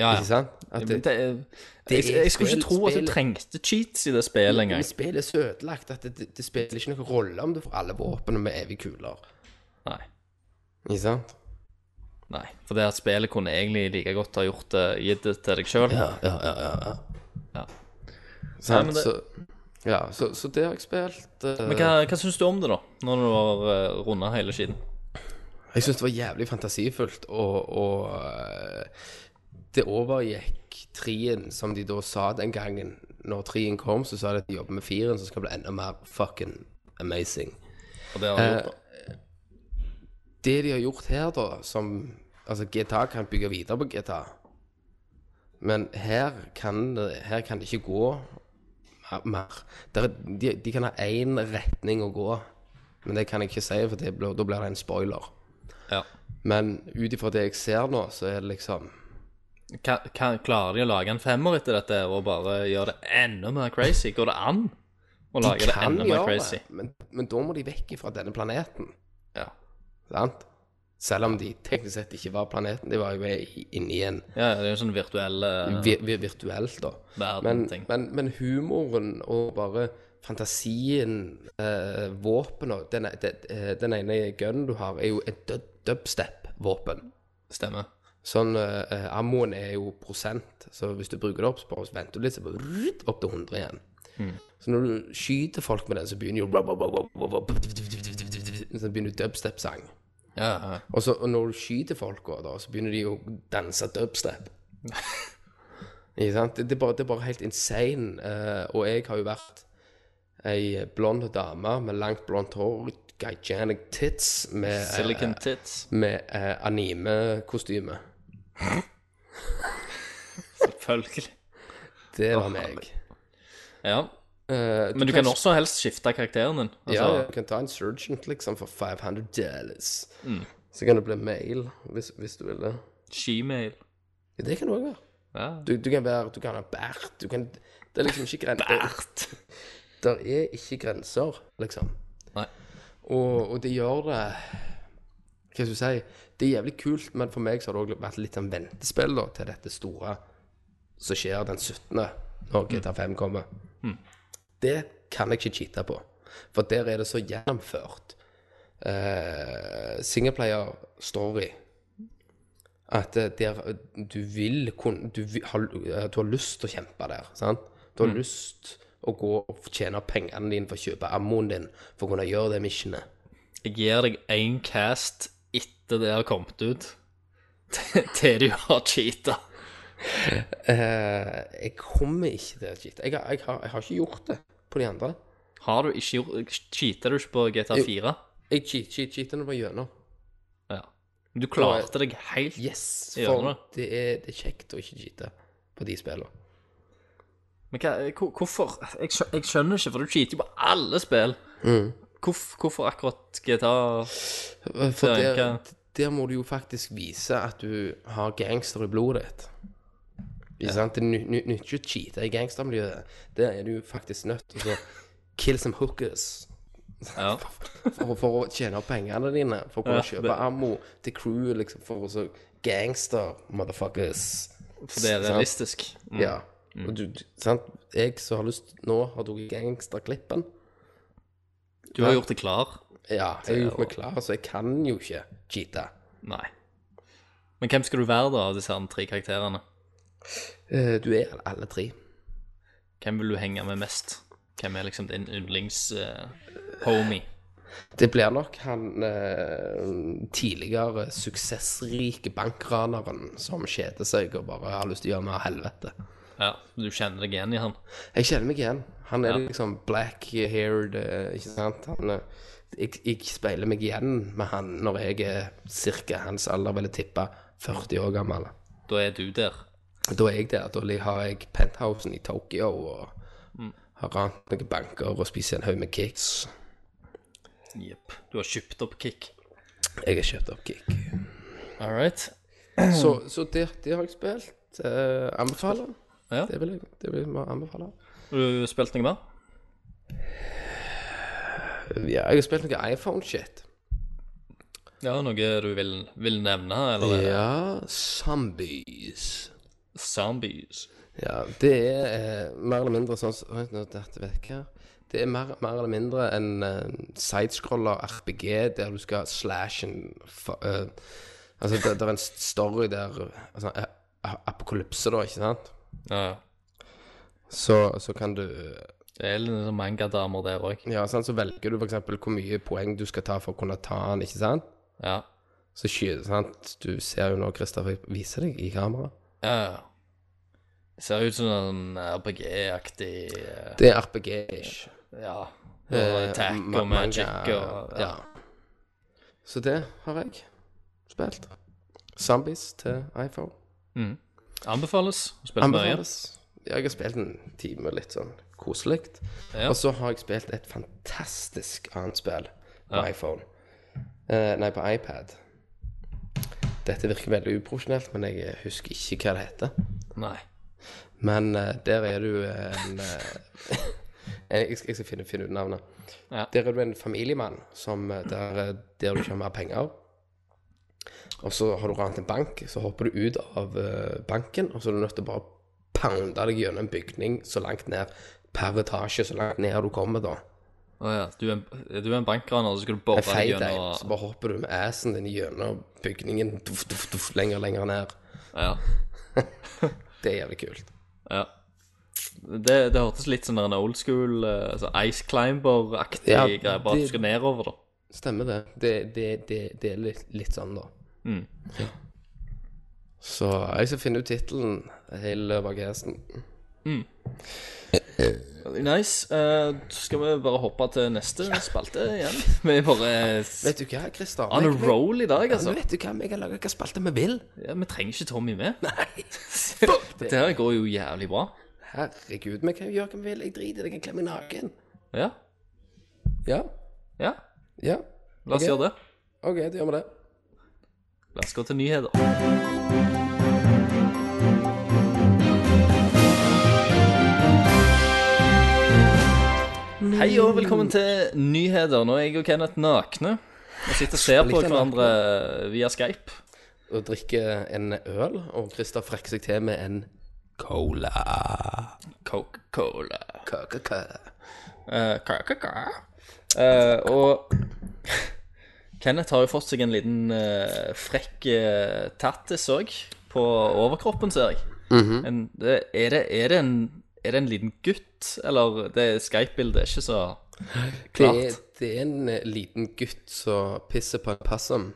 D: Ja,
E: Ikke sant? At
D: Det,
E: det,
D: det, er-
E: det
D: jeg,
E: er
D: jeg skulle ikke
E: spill-
D: tro at du
E: spill-
D: trengte cheats i det spillet
E: men
D: engang.
E: spillet er så ødelagt at det, det, det spiller ikke noen rolle om du får alle våpnene med evig kuler.
D: Nei.
E: Ikke sant?
D: Nei. For det at spillet kunne egentlig like godt ha gjort det, gitt det til deg sjøl.
E: Ja, ja, ja, ja.
D: Ja.
E: Sant,
D: Nei, men det-
E: så, ja, så, så det har jeg spilt. eh,
D: Men hva, hva syns du om det, da? Når du har uh, runda hele skiten?
E: Jeg syns det var jævlig fantasifullt, og, og eh, det overgikk trien, som de da sa den gangen. Når trien kom, så sa de at de jobber med firen, som skal det bli enda mer fucking amazing.
D: Og det har du gjort, da?
E: Det de har gjort her, da, som Altså, GTA kan bygge videre på GTA, men her kan det, her kan det ikke gå mer- mer. Der, er- de, de kan ha én retning å gå, men det kan jeg ikke si, for det, blir- da blir det en spoiler. Eh,
D: Ja.
E: Men ut ifra det jeg ser nå, så er det liksom
D: Ka- ka- klarer de å lage en femmer etter dette her og bare gjøre det enda mer crazy? Går det an å lage det
E: Kan
D: enda mer
E: gjøre
D: crazy?
E: det, men, men da må de vekk fra denne planeten,
D: Ja.
E: sant? Selv om de teknisk sett ikke var planeten, de var jo i- inni en
D: ja, det er jo sånn virtuell eh,
E: vi, vi, virtuelt, da. Men,
D: verden-ting.
E: men, men humoren og bare fantasien, eh, våpenet den, e- den, eh, den ene gunnen du har, er jo et dub- dubstep-våpen.
D: Stemmer.
E: Sånn, eh, eh, Ammoen er jo prosent, så hvis du bruker det opp, så bare venter du litt, så bare rrrt, opp til 100 igjen. Så når du skyter folk med den, så begynner jo Så begynner dubstep-sang.
D: Ja, ja.
E: Og, så, og når du skyter folka, da, så begynner de å danse dubstep. Ikke sant? Det, det, er bare, det er bare helt insane. eh, og jeg har jo vært ei blond dame med langt blondt hår, gigantic tits, med, eh,
D: Silicon tits.
E: med eh, anime-kostyme.
D: Selvfølgelig.
E: Det var meg.
D: Ja.
E: Eh,
D: Men du kan også helst skifte karakteren din. Altså,
E: ja, du kan ta en surgeon liksom for 500 dollars.
D: Mm.
E: Så kan det bli male, hvis, hvis du vil det.
D: Gmail.
E: Ja, det kan du òg være.
D: Ja.
E: Du, du kan være Du kan ha bært. Du kan Det er liksom ikke grenser. Bært! Der er ikke grenser, liksom.
D: Nei.
E: Og, og det gjør det Hva skal du si? Det er jævlig kult, men for meg så har det òg vært litt sånn ventespill da, til dette store som skjer den 17. når GTA 5 kommer. Det kan jeg ikke cheate på, for der er det så gjennomført eh, singleplayer-story at eh, der eh, du vil kunne du, vil- har, eh, du har lyst til å kjempe der, sant? Du har lyst å gå og tjene pengene dine for å kjøpe ammoen din for å kunne gjøre det missionet.
D: Jeg gir deg én cast etter det har kommet ut, til til du har cheata.
E: Eh, jeg kommer ikke til å cheate. Jeg, har- jeg, har- jeg har ikke gjort det på de andre.
D: Har du ikke gjort Cheater du ikke på GTA 4?
E: Jeg cheat, cheat, cheater når jeg var gjennom.
D: Ja. Du klarte deg helt
E: Yes,
D: Jeg
E: for
D: gjør det.
E: det er, det er kjekt å ikke cheate på de spillene.
D: Men hva, hvor- hvorfor jeg, skjø- jeg skjønner ikke, for du cheater jo på alle spill.
E: Mm.
D: Hvorf, hvorfor akkurat GTA
E: Eh, For
D: Det er
E: der,
D: ikke-
E: der må du jo faktisk vise at du har gangster i blodet ditt. Ikke sant? Det ny- ny- nytter ikke å cheate i gangstermiljøet. Der er du jo faktisk nødt til å kill some hookers.
D: Ja.
E: for, for å tjene pengene dine, for å kunne
D: Ja,
E: kjøpe
D: det-
E: ammo til crewet, liksom, for å så gangster, motherfuckers.
D: For det er
E: Sant?
D: realistisk. Mm.
E: Ja. Og du, du- sant? Jeg som har lyst Nå har du gangsterklippen.
D: Du har gjort deg klar.
E: Ja, jeg har gjort meg klar, så jeg kan jo ikke cheate.
D: Nei. Men hvem skal du være, da, av disse her tre karakterene?
E: Eh, Du er alle tre.
D: Hvem vil du henge med mest? Hvem er liksom din eh, yndlings-homie?
E: Det blir nok han eh, tidligere suksessrike bankraneren som kjeder seg og bare har lyst til å gjøre mer helvete.
D: ja, du kjenner deg igjen i han?
E: Jeg kjenner meg igjen. Han er
D: Ja.
E: liksom black-haired, eh, ikke sant? Han, er- jeg, jeg speiler meg igjen med han når jeg er cirka hans alder, vil jeg tippe, 40 år gammel.
D: Da er du der.
E: Da er jeg der. Da li- har jeg penthousen i Tokyo og har rant noen banker og spiser en haug med kicks.
D: Jepp. Du har kjøpt opp Kick.
E: Jeg har kjøpt opp kick.
D: All right.
E: Så, så det, det har jeg spilt. Eh, anbefaler.
D: Ja.
E: Det vil jeg det vil jeg anbefale.
D: Har du spilt noe mer?
E: Ja, jeg har spilt noe iPhone-shit.
D: Ja, noe du vil, vil nevne, eller? er det
E: Ja, zombies.
D: Zombies.
E: Ja, det er eh, mer eller mindre sånn som- Oi, nå datt det vekk her. Det er mer, mer eller mindre en eh, sidescroller RPG der du skal slash en fa- eh, Altså, det, det er en story der altså, eh, a- Apokalypse, da, ikke sant?
D: Ja, ja.
E: Så, så kan du
D: Det er litt sånn mangadamer der òg.
E: Ja, sant, så velger du f.eks. hvor mye poeng du skal ta for å kunne ta den, ikke sant?
D: Ja.
E: Så skyter sant? Du ser jo nå, Kristoffer, jeg viser deg i kamera.
D: ja. ja. Det ser ut som en RPG-aktig eh,
E: Det er RPG-ish.
D: Ja. Og
E: Eh,
D: attack
E: ma-
D: og magic
E: manga,
D: og
E: ja. Så det har jeg spilt. Zombies til iPhone.
D: Anbefales å spille mye.
E: Anbefales. Ja, jeg har spilt en time litt sånn koselig.
D: Ja.
E: Og så har jeg spilt et fantastisk annet spill på
D: Ja.
E: iPhone. Eh, nei, på iPad. Dette virker veldig uprofesjonelt, men jeg husker ikke hva det heter.
D: Nei.
E: Men eh, der er du en eh, jeg, skal- jeg skal finne, finne ut navnet.
D: Ja.
E: Der er du en familiemann som, eh, der, eh, der du ikke har mer penger. Og så har du rant en bank, så hopper du ut av eh, banken, og så er du nødt til å bare pounde deg gjennom en bygning så langt ned per etasje, så langt ned du kommer, da.
D: Å ja. Du er en, er du en bankraner, så skal du bore
E: En
D: deg
E: feit en, så
D: gjennom
E: bare hopper du med assen din gjennom bygningen duff, duff, duff, lenger og lenger ned.
D: Ja.
E: Det er jævlig kult.
D: ja. Det, det hørtes litt sånn der en old school eh, altså Ice Climber-aktig
E: Ja,
D: greie, bare at
E: det-
D: du skal nedover, da.
E: Stemmer det. Det, det, det, det er litt, litt sånn, da.
D: Mm.
E: Så jeg skal finne ut tittelen hele bagasen.
D: Veldig Nice. Eh, så skal vi bare hoppe til neste spalte igjen? Vi er bare
E: Vet du hva, Christer?
D: on a
E: Jeg-
D: roll i dag,
E: Ja,
D: altså.
E: men vet du hva, vi kan lage hvilken spalte vi vil.
D: Ja, vi trenger ikke Tommy med.
E: Nei.
D: Dette her går jo jævlig bra.
E: Herregud, vi kan jo gjøre hva vi vil. Jeg driter i det, jeg kan klemme meg naken.
D: Ja.
E: Ja,
D: ja.
E: ja.
D: La oss
E: Ok.
D: gjøre det.
E: OK, da gjør vi det.
D: La oss gå til nyheter. Hei og velkommen til nyheter. Nå er jeg og Kenneth nakne. Vi sitter og ser på
E: Litt
D: hverandre via Skype.
E: Og drikker en øl, og Christer frekker seg til med en cola.
D: Coca-Cola.
E: Coca-Cola.
D: Eh, Coca-Cola. Eh, og Kenneth har jo fått seg en liten eh, frekk eh, tattis òg, på overkroppen, ser jeg.
E: Mhm.
D: en, det- er, det, er, det en, er det en liten gutt? Eller det Skype-bildet er ikke så
E: Det,
D: klart.
E: er- det er en liten gutt som pisser på en passum.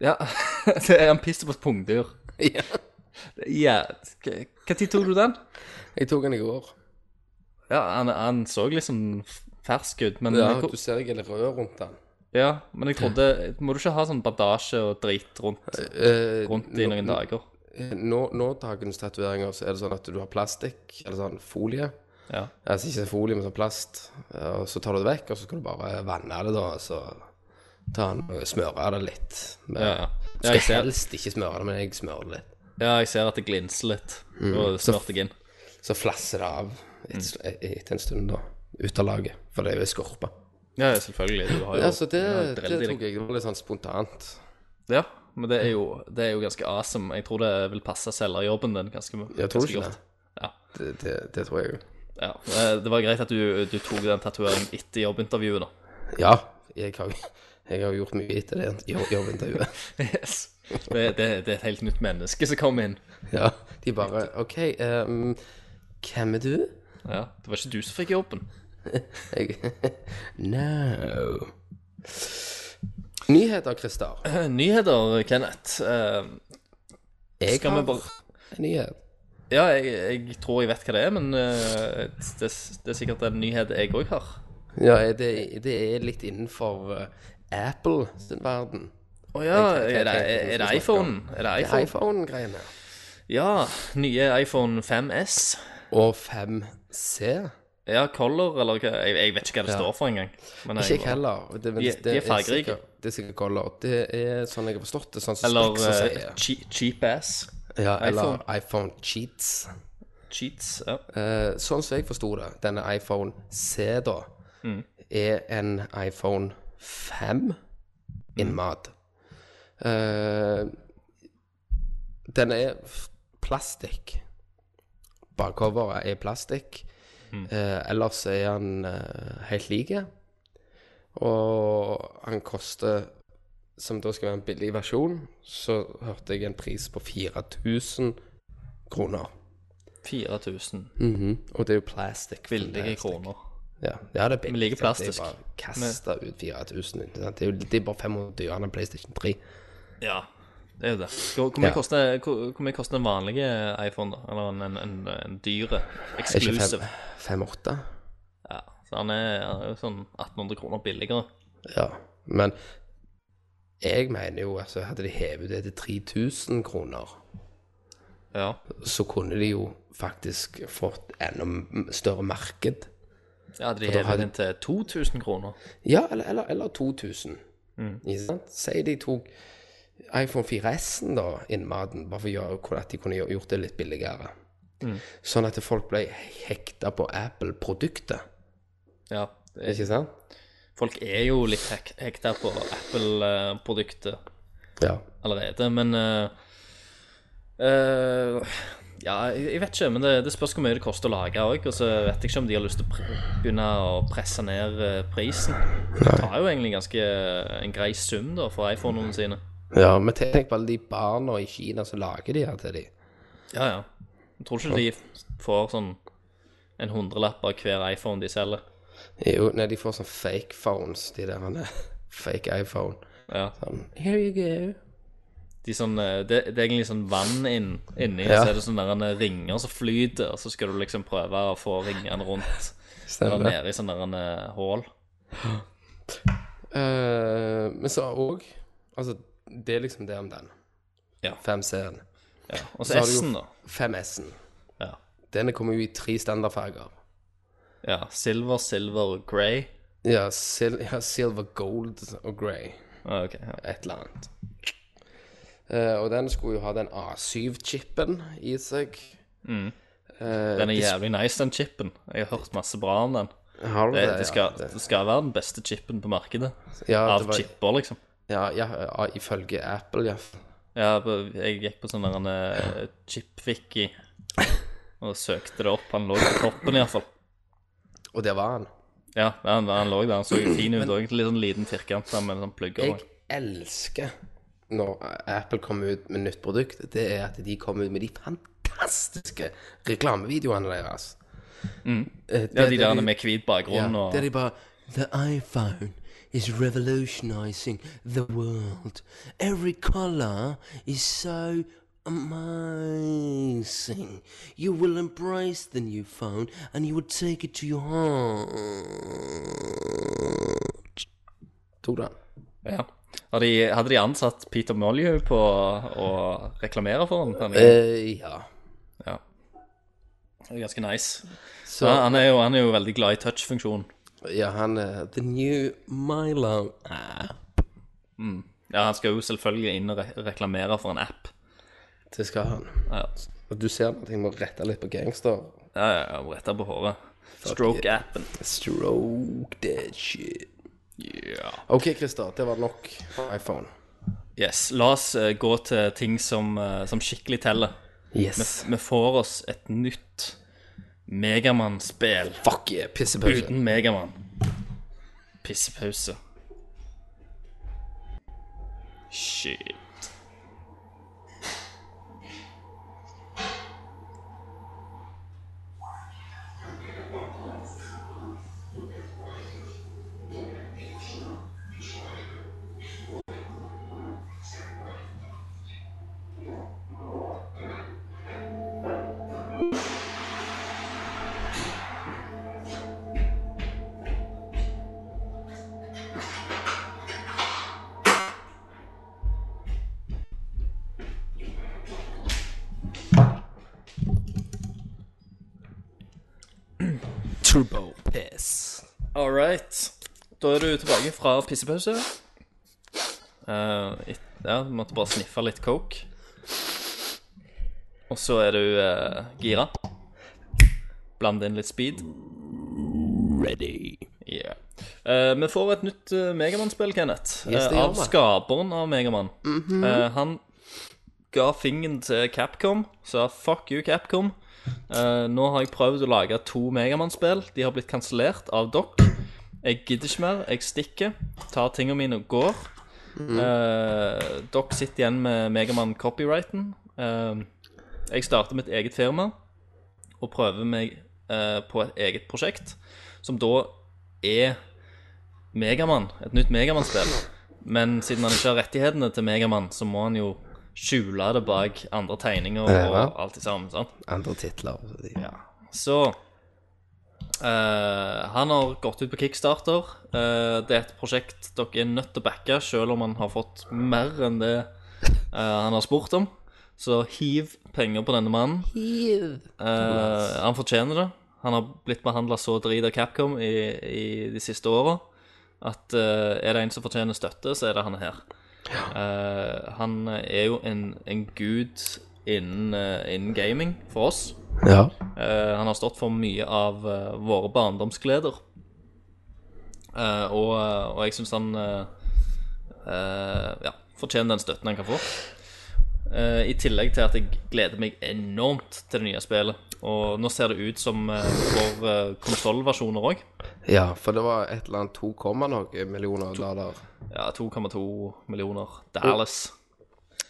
D: Ja, det er han pisser på et pungdyr.
E: Ja.
D: Ja, Når tok du den?
E: Jeg tok den i går.
D: Ja, han, han så liksom fersk ut, men
E: Ja,
D: jeg,
E: du ser jeg er litt rød rundt den.
D: ja, men jeg trodde Må du ikke ha sånn bandasje og drit rundt,
E: Eh,
D: rundt i noen dager?
E: Nå, nå dagens tatoveringer så er det sånn at du har plastikk, eller sånn folie.
D: Ja.
E: Altså ikke folie, men sånn plast. Eh, Og så tar du det vekk, og så skal du bare vanne det, da. og Så ta den og smøre det litt. Men,
D: Ja, ja.
E: Du
D: Ja, jeg
E: skal
D: ser,
E: helst ikke smøre det, men jeg smører det litt.
D: ja, jeg ser at det glinser litt.
E: Mm.
D: Og smørte jeg inn.
E: Så flasser det av et, etter en stund, da. Ut av laget. For det er jo skorpe.
D: Ja, ja, selvfølgelig. Du har jo
E: Ja, så det,
D: du har
E: det
D: drell i
E: tok
D: deg.
E: jeg. Det var litt sånn spontant.
D: Ja, men det er, jo, det er jo ganske awesome. Jeg tror det vil passe selgerjobben din ganske,
E: Jeg tror
D: ganske
E: ikke
D: godt.
E: det.
D: Ja.
E: Det, det, det tror jeg jo.
D: Ja, eh, Det var greit at du, du tok den tatoveringen etter jobbintervjuet, da.
E: Ja, jeg har, jeg har gjort mye etter det jobb- jobbintervjuet.
D: Yes. Det, det, det er et helt nytt menneske som kom inn.
E: Ja, de bare OK, ehm, hvem er du?
D: Ja, Det var ikke du som fikk jobben.
E: Jeg No. Nyheter, Christer.
D: Eh, Nyheter, Kenneth. Eh,
E: Jeg
D: Skal vi
E: har
D: bare-
E: en nyhet.
D: Ja, jeg, jeg tror jeg vet hva det er, men eh, det, det er sikkert en nyhet jeg òg har.
E: Ja, det, det er litt innenfor eh, Apple sin verden.
D: Å ja,
E: Jeg- jeg- jeg-
D: er det,
E: jeg-
D: er det iPhone? Er det
E: Det er
D: iPhone?
E: iPhone-greiene.
D: Ja, nye iPhone 5S.
E: Og 5C.
D: Ja, Color, eller hva? Jeg, jeg vet ikke hva det står for engang. Men
E: Ikke
D: jeg-
E: jeg heller. Det, men
D: De-
E: det
D: de er fargerike.
E: sikkert- Det er sikkert color. Det er sånn jeg har forstått det. Sånn som
D: Eller
E: Specs
D: eh,
E: sier.
D: che- Cheap Ass.
E: Ja, eller
D: iPhone.
E: iPhone Cheats.
D: Cheats. Ja.
E: Eh, sånn som jeg forsto det, denne iPhone C, da, er en iPhone 5 innmat. Eh, den er f- plastikk. Bakcoveret er plastikk. Eh, ellers er han eh, helt like. Og han koster, som da skal være en billig versjon, så hørte jeg en pris på 4000 kroner.
D: 4000
E: Mhm, Og det er jo plastikk.
D: billige
E: Plastikk.
D: kroner.
E: Ja, ja det er billig.
D: Vi liker
E: sant? Det
D: plastisk.
E: er bare kasta ut 4000. ikke sant? Det er jo det er bare 500 dyrere enn PlayStation 3.
D: Ja, det er jo det. Hvor, hvor, mye
E: Ja.
D: koster, hvor, hvor mye koster en vanlig eh, iPhone, da? Eller en, en, en, en dyre?
E: Er ikke
D: Exclusive.
E: 58?
D: Ja, så han er, han er jo sånn 1800 kroner billigere.
E: Ja. Men jeg mener jo altså, Hadde de hevet det til 3000 kroner,
D: Ja.
E: så kunne de jo faktisk fått enda m- større marked.
D: ja de
E: For da
D: hever
E: har de-
D: den til 2000 kroner.
E: Ja, eller, eller, eller 2000.
D: Mm.
E: Ikke sant? Si de tok iPhone 4S-en da, innmaten, bare for å gjøre at de kunne gjør- gjort det litt billigere.
D: Mm.
E: Sånn at folk ble hekta på Apple-produktet,
D: Ja. Det er,
E: ikke sant?
D: folk er jo litt hek hekta på Apple-produktet.
E: Ja.
D: allerede, men eh, eh, Ja, jeg jeg vet ikke, men det, det spørs hvor mye det koster å lage òg. Og så vet jeg ikke om de har lyst til å pre begynne å presse ned eh, prisen. Det tar jo egentlig ganske eh, en grei sum da for iPhonene sine.
E: ja, men tenk på alle de barna i Kina som lager de her til de.
D: Ja, ja. Jeg tror ikke de f- får sånn en hundrelapp av hver iPhone de selger.
E: Jo, nei, de får sånn fake phones, de der. han er- Fake iPhone.
D: Ja.
E: Sånn, Here you go.
D: De sånn, eh, det, det er egentlig sånn vann inn, inni, og
E: Ja.
D: så er det sånne der, eh, ringer som flyter, og så skal du liksom prøve å få ringene rundt. Eller
E: Stemmer det.
D: nede i sånne der, eh, hål.
E: Eh, men så òg Altså, det er liksom det om den.
D: Ja.
E: 5C-en.
D: Ja. Og
E: Så
D: så
E: har du jo-
D: S-en, da.
E: 5S-en.
D: Ja.
E: Denne kommer jo i tre standardfarger.
D: ja. Silver, silver og grey.
E: Ja, sil ja, silver, gold og grey.
D: Ah, ok, ja.
E: Et eller annet. Eh, og den skulle jo ha den A7-chipen i seg.
D: Mm.
E: Eh,
D: Den er jævlig nice, den chipen. Jeg har hørt masse bra om den.
E: Har du
D: Det, det, skal,
E: ja,
D: det skal være den beste chipen på markedet.
E: ja, det
D: Av
E: var,
D: chipper, liksom.
E: Ja, ja, ja, ifølge Apple, ja.
D: Ja, på- jeg gikk på sånn der en eh, chip-wiki og søkte det opp. Han lå på toppen, iallfall.
E: Og der var han.
D: Ja, han, han lå der. Han så jo fin ut òg. Litt sånn liten firkant der med sånn plugger.
E: Jeg elsker når Apple kommer ut med nytt produkt, det er at de kommer ut med de fantastiske reklamevideoene deres. Eh, det-
D: Mm. Ja, de
E: det
D: der med hvit bakgrunn
E: Ja,
D: og
E: der de bare The iPhone is revolutionizing the world. Every color is so amazing. You will embrace the new phone and you will take it to your heart. Tok den.
D: Ja. Hadde de, hadde de ansatt Peter Molyneux på å reklamere for den? denne gangen?
E: Eh, ja.
D: Ja. Det er ganske nice.
E: Så
D: Ja, han, er jo, han er jo veldig glad i touch-funksjon.
E: Ja, han er The new Milo app.
D: Ja, han skal jo selvfølgelig inn og re reklamere for en app.
E: Det skal han.
D: Ja,
E: Og du ser at jeg må rette litt på gangster.
D: ja, ja, ja retta på håret. Stroke-appen.
E: Stroke that shit. OK, Christer. Det var nok for iPhone.
D: Yes, la oss eh, gå til ting som, eh, som skikkelig teller.
E: Yes.
D: Vi får oss et nytt Megamann-spill
E: Fuck yeah, pissepause.
D: uten Megamann. Pissepause. Shit.
E: Turbo piss.
D: All right. Da er du tilbake fra pissepause. Eh, et, ja, du måtte bare sniffe litt coke. Og så er du eh, gira. Bland inn litt speed.
E: Ready.
D: Yeah. Eh, vi får et nytt uh, Megamann-spill, Kenneth.
E: Yes,
D: Eh,
E: det gjør
D: av
E: vi. Mhm.
D: skaperen av Megamann. Eh, han ga fingeren til Capcom, sa 'fuck you, Capcom'. Eh, nå har jeg prøvd å lage to Megamann-spill. De har blitt kansellert av dere. Jeg gidder ikke mer. Jeg stikker, tar tingene mine og går.
E: Mhm.
D: Eh, dere sitter igjen med Megamann-copyrighten. Eh, jeg starter mitt eget firma og prøver meg eh, på et eget prosjekt, som da er Megamann, et nytt Megamann-spill. Men siden han ikke har rettighetene til Megamann, så må han jo skjule det bak andre tegninger
E: Ja.
D: og alt i sammen. sant?
E: Andre titler. Ja.
D: Så eh, Han har gått ut på Kickstarter. Eh, det er et prosjekt dere er nødt til å backe, selv om han har fått mer enn det eh, han har spurt om. Så hiv penger på denne mannen. Eh, han fortjener det. Han har blitt behandla så drit av Capcom i, i de siste åra at eh, er det en som fortjener støtte, så er det han her. Eh, han er jo en, en gud innen, eh, innen gaming for oss.
E: ja.
D: Eh, han har stått for mye av eh, våre barndomsgleder. Eh, og, og jeg syns han eh, eh, ja, fortjener den støtten han kan få. Eh, I tillegg til at jeg gleder meg enormt til det nye spillet. Og nå ser det ut som eh, vi får uh, konsollversjoner òg.
E: ja, for det var et eller annet 2, komma noe millioner dollar.
D: Ja, 2,2 millioner Dallas.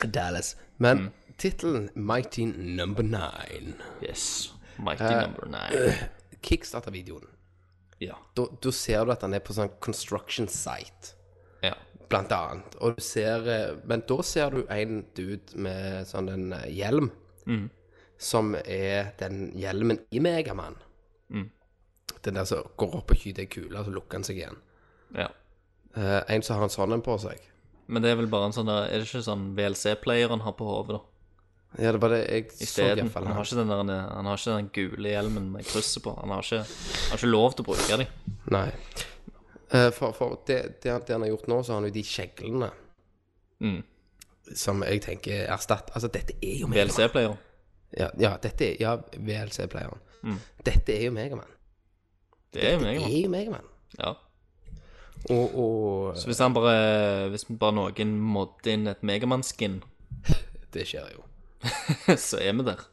E: Dallas. Mm. Men tittelen Mighty Number Nine.
D: Yes. Mighty number nine.
E: Kickstarter-videoen
D: Ja.
E: Da, da ser du at han er på sånn construction site,
D: ja.
E: blant annet. Og du ser eh, Men da ser du en dude med sånn en eh, hjelm, som er den hjelmen i Megamann. Mm. Den der som går opp og skyter ei kule, og så lukker han seg igjen.
D: ja.
E: Eh, en som har en sånn en på seg.
D: Men det er vel bare en sånn der Er det ikke sånn VLC-player han har på hodet, da?
E: Ja, det var det jeg så i
D: Isteden.
E: hvert fall.
D: Han, har ikke den der- han har ikke den gule hjelmen med krysset på. Han har ikke, han har ikke lov til å bruke dem.
E: Nei. Eh, for for det, det, han- det han har gjort nå, så har han jo de kjeglene
D: Mm.
E: som jeg tenker erstatt... Altså, dette er jo Megaman.
D: VLC-player.
E: Ja, ja, dette er Ja, VLC-playeren. Dette er jo Megaman.
D: Det er jo meg,
E: Det
D: da.
E: er jo Mm. Megaman.
D: Ja.
E: Og, og
D: Så hvis han bare Hvis bare noen modder inn et Megamann-skin,
E: det skjer jo.
D: så er vi der.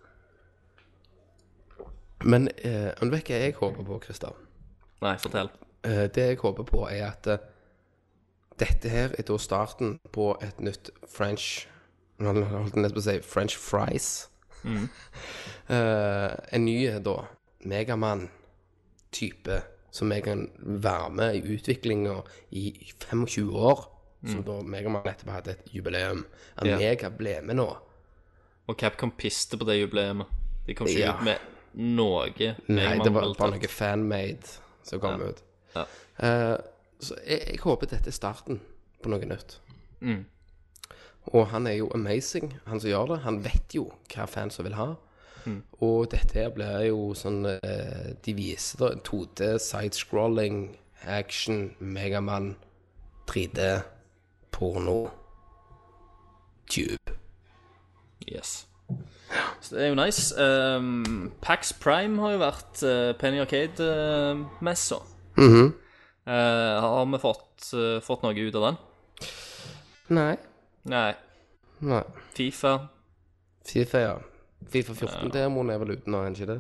E: Men eh, men vet du hva jeg håper på, Christer?
D: Nei, fortell.
E: Eh, det jeg håper på, er at eh, dette her er da starten på et nytt French Nå holdt jeg nesten på å si French fries. Mm. Eh, en ny eh, da Megamann-type som jeg kan være med i utviklinga i 25 år. Som da Megamann nettopp hadde et jubileum. At
D: Ja.
E: jeg ble med nå.
D: Og Capcom piste på det jubileet. De kom ikke
E: Ja.
D: ut med noe
E: Nei, det var
D: Megaman-relatert.
E: bare noe fanmade som kom ut.
D: Ja.
E: Eh, så jeg, jeg håper dette er starten på noe nytt.
D: Mm.
E: Og han er jo amazing, han som gjør det. Han vet jo hva fans vil ha.
D: Mm.
E: Og dette her blir jo sånn eh, De viser da 2D sidescrolling, action, Megamann, 3D, porno, tube.
D: Yes. Så det er jo nice. Um, Pax Prime har jo vært eh, Penny Arcade-messa. har vi fått, eh, fått noe ut av den?
E: Nei.
D: Nei.
E: Nei.
D: Fifa
E: Fifa, ja. Fifa 14-demoen er vel ute nå, er den ikke det?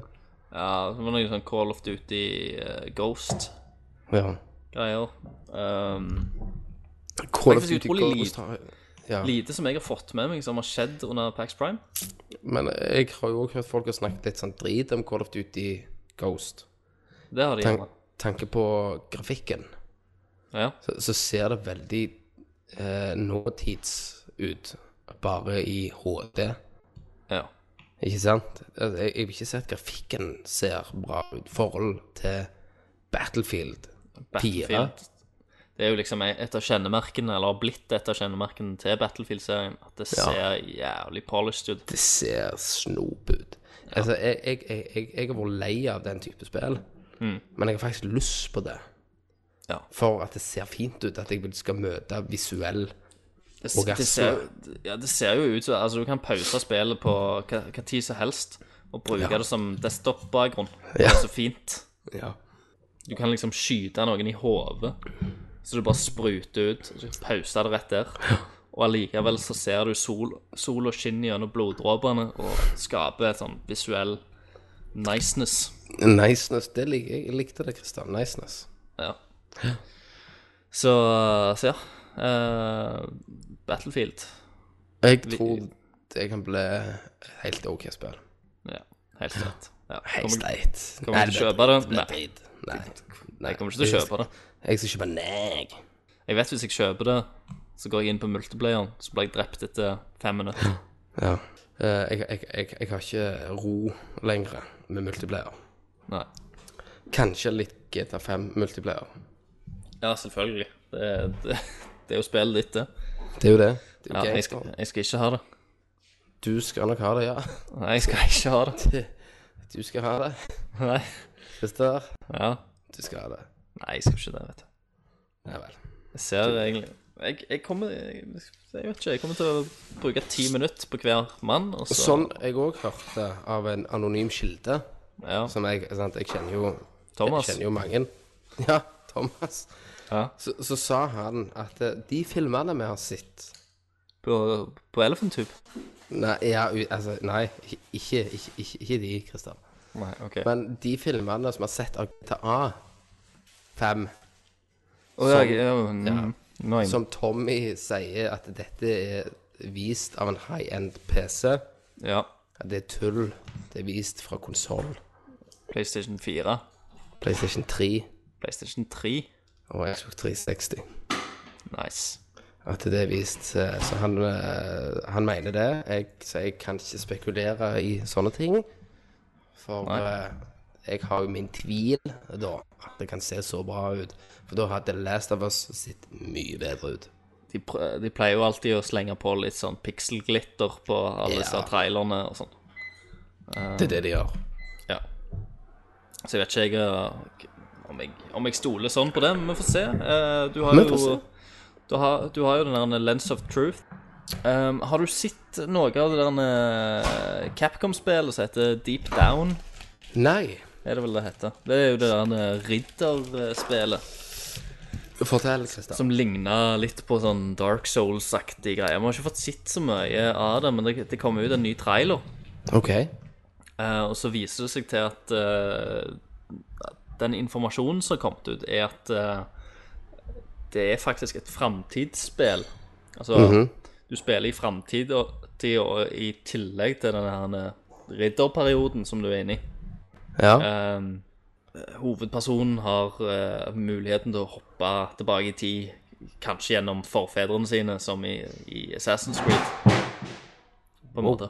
D: Ja, det var noe sånn Call of Duty eh, Ghost-greier.
E: Ja.
D: Um,
E: Call of
D: Faktisk
E: Duty
D: utrolig
E: Ghost har ja.
D: lite som jeg har fått med meg som har skjedd under Pax Prime.
E: Men jeg har jo også hørt folk har snakket litt sånn drit om Call of Duty Ghost.
D: Det har de
E: Tan
D: gjerne.
E: tanke på grafikken,
D: Ja.
E: så, så ser det veldig eh, nåtids ut. Bare i HD,
D: ja.
E: ikke sant? Altså, Jeg, jeg vil ikke si at grafikken ser bra ut. Forhold til Battlefield. Fire.
D: Battlefield. Det er jo liksom et av kjennemerkene, eller har blitt et av kjennemerkene til Battlefield-serien, at det ser jævlig polished ut.
E: Det ser snop ut. Altså, jeg, jeg, jeg, jeg, jeg har vært lei av den type spill,
D: Mm.
E: men jeg har faktisk lyst på det.
D: Ja.
E: For at det ser fint ut, at jeg vil- skal møte visuell
D: Det,
E: Og
D: det, ser, ja, det ser jo ut som Altså, du kan pause spillet på hva hva tid som helst og bruke det som desktop-bakgrunn. Det er så fint.
E: Ja.
D: Du kan liksom skyte noen i hodet, så du bare spruter ut. og Så pause det rett der. Og allikevel så ser du sol, sol og skinn gjennom bloddråpene og skaper et sånn visuell niceness.
E: Niceness. Det lik, jeg likte det, Kristian. Niceness.
D: Ja. Så, så ja. Eh, Battlefield.
E: Jeg tror det kan bli helt OK spill.
D: Ja, helt rett. Ja.
E: Helt
D: Kommer,
E: streit.
D: kommer
E: Nei,
D: du til å kjøpe det?
E: blir
D: Nei.
E: drit. Nei. Nei.
D: jeg kommer ikke til å kjøpe det.
E: Jeg skal kjøpe neg.
D: Jeg vet hvis jeg kjøper det, så går jeg inn på multiplayeren, så blir jeg drept etter fem minutter.
E: Ja. Eh, Jeg, jeg, jeg, jeg har ikke ro lenger med multiplayer.
D: Nei.
E: Kanskje litt GTA5 multiplayer.
D: Ja, selvfølgelig. Det, det, det er jo spillet ditt, det.
E: Det er jo det. det er
D: Ja,
E: jo
D: jeg,
E: gangster.
D: skal, jeg skal ikke ha det.
E: Du skal nok ha det, ja.
D: Nei, jeg skal ikke ha det.
E: Du skal ha det.
D: Nei.
E: Christer,
D: Ja.
E: du skal ha det.
D: Nei, jeg skal ikke det, vet du.
E: Ja vel.
D: Jeg ser egentlig Jeg, jeg kommer jeg, jeg vet ikke. Jeg kommer til å bruke ti minutter på hver mann, og så
E: Sånn jeg òg hørte av en anonym kilde,
D: Ja.
E: som jeg sant, Jeg kjenner jo
D: Thomas.
E: Jeg kjenner jo mange. Ja, Thomas.
D: Ja.
E: Så, så sa han at eh, de filmene vi har sett
D: På, på Elephant Tube?
E: Nei, ja, u- altså, nei ikke, ikke, ikke, ikke de, Christer.
D: Nei, ok.
E: Men de filmene som vi har sett av GTA 5
D: Å, ja, jeg- ja, mm, nå er jeg-
E: Som Tommy sier at dette er vist av en high-end PC.
D: Ja.
E: At det er tull. Det er vist fra konsoll.
D: PlayStation 4.
E: PlayStation 3.
D: PlayStation 3.
E: Og jeg tok 360.
D: Nice.
E: At det er vist. eh, Så han, eh, han mener det. Jeg, så jeg kan ikke spekulere i sånne ting. For
D: Nei.
E: eh, jeg har jo min tvil da, at det kan se så bra ut. For da hadde Last of Us sett mye bedre ut.
D: De, pr- de pleier jo alltid å slenge på litt sånn pikselglitter på alle disse
E: Ja.
D: trailerne og sånn.
E: Det er det de gjør.
D: Ja. Så jeg vet ikke jeg eh, om jeg, om jeg stoler sånn på det, men vi får se. Eh, Du har
E: Vi får
D: jo
E: se.
D: du har, du har jo den der Lens of Truth. Um, har du sett noe av det der eh, Capcom-spillet som heter Deep Down?
E: Nei,
D: Er det vel det heter? Det er jo det der eh, ridderspillet
E: fortell, Christer.
D: som ligner litt på sånn Dark Souls-aktig greie. Vi har ikke fått sett så mye av det, men det, det kommer ut en ny trailer.
E: OK.
D: Eh, og så viser det seg til at eh, at den informasjonen som har kommet ut, er at eh, det er faktisk et framtidsspill. Altså, du spiller i framtida og i tillegg til denne herne ridderperioden som du er inne i.
E: Ja.
D: Ehm, hovedpersonen har eh, muligheten til å hoppe tilbake i tid, kanskje gjennom forfedrene sine, som i, i Assassin's Creed, på en måte.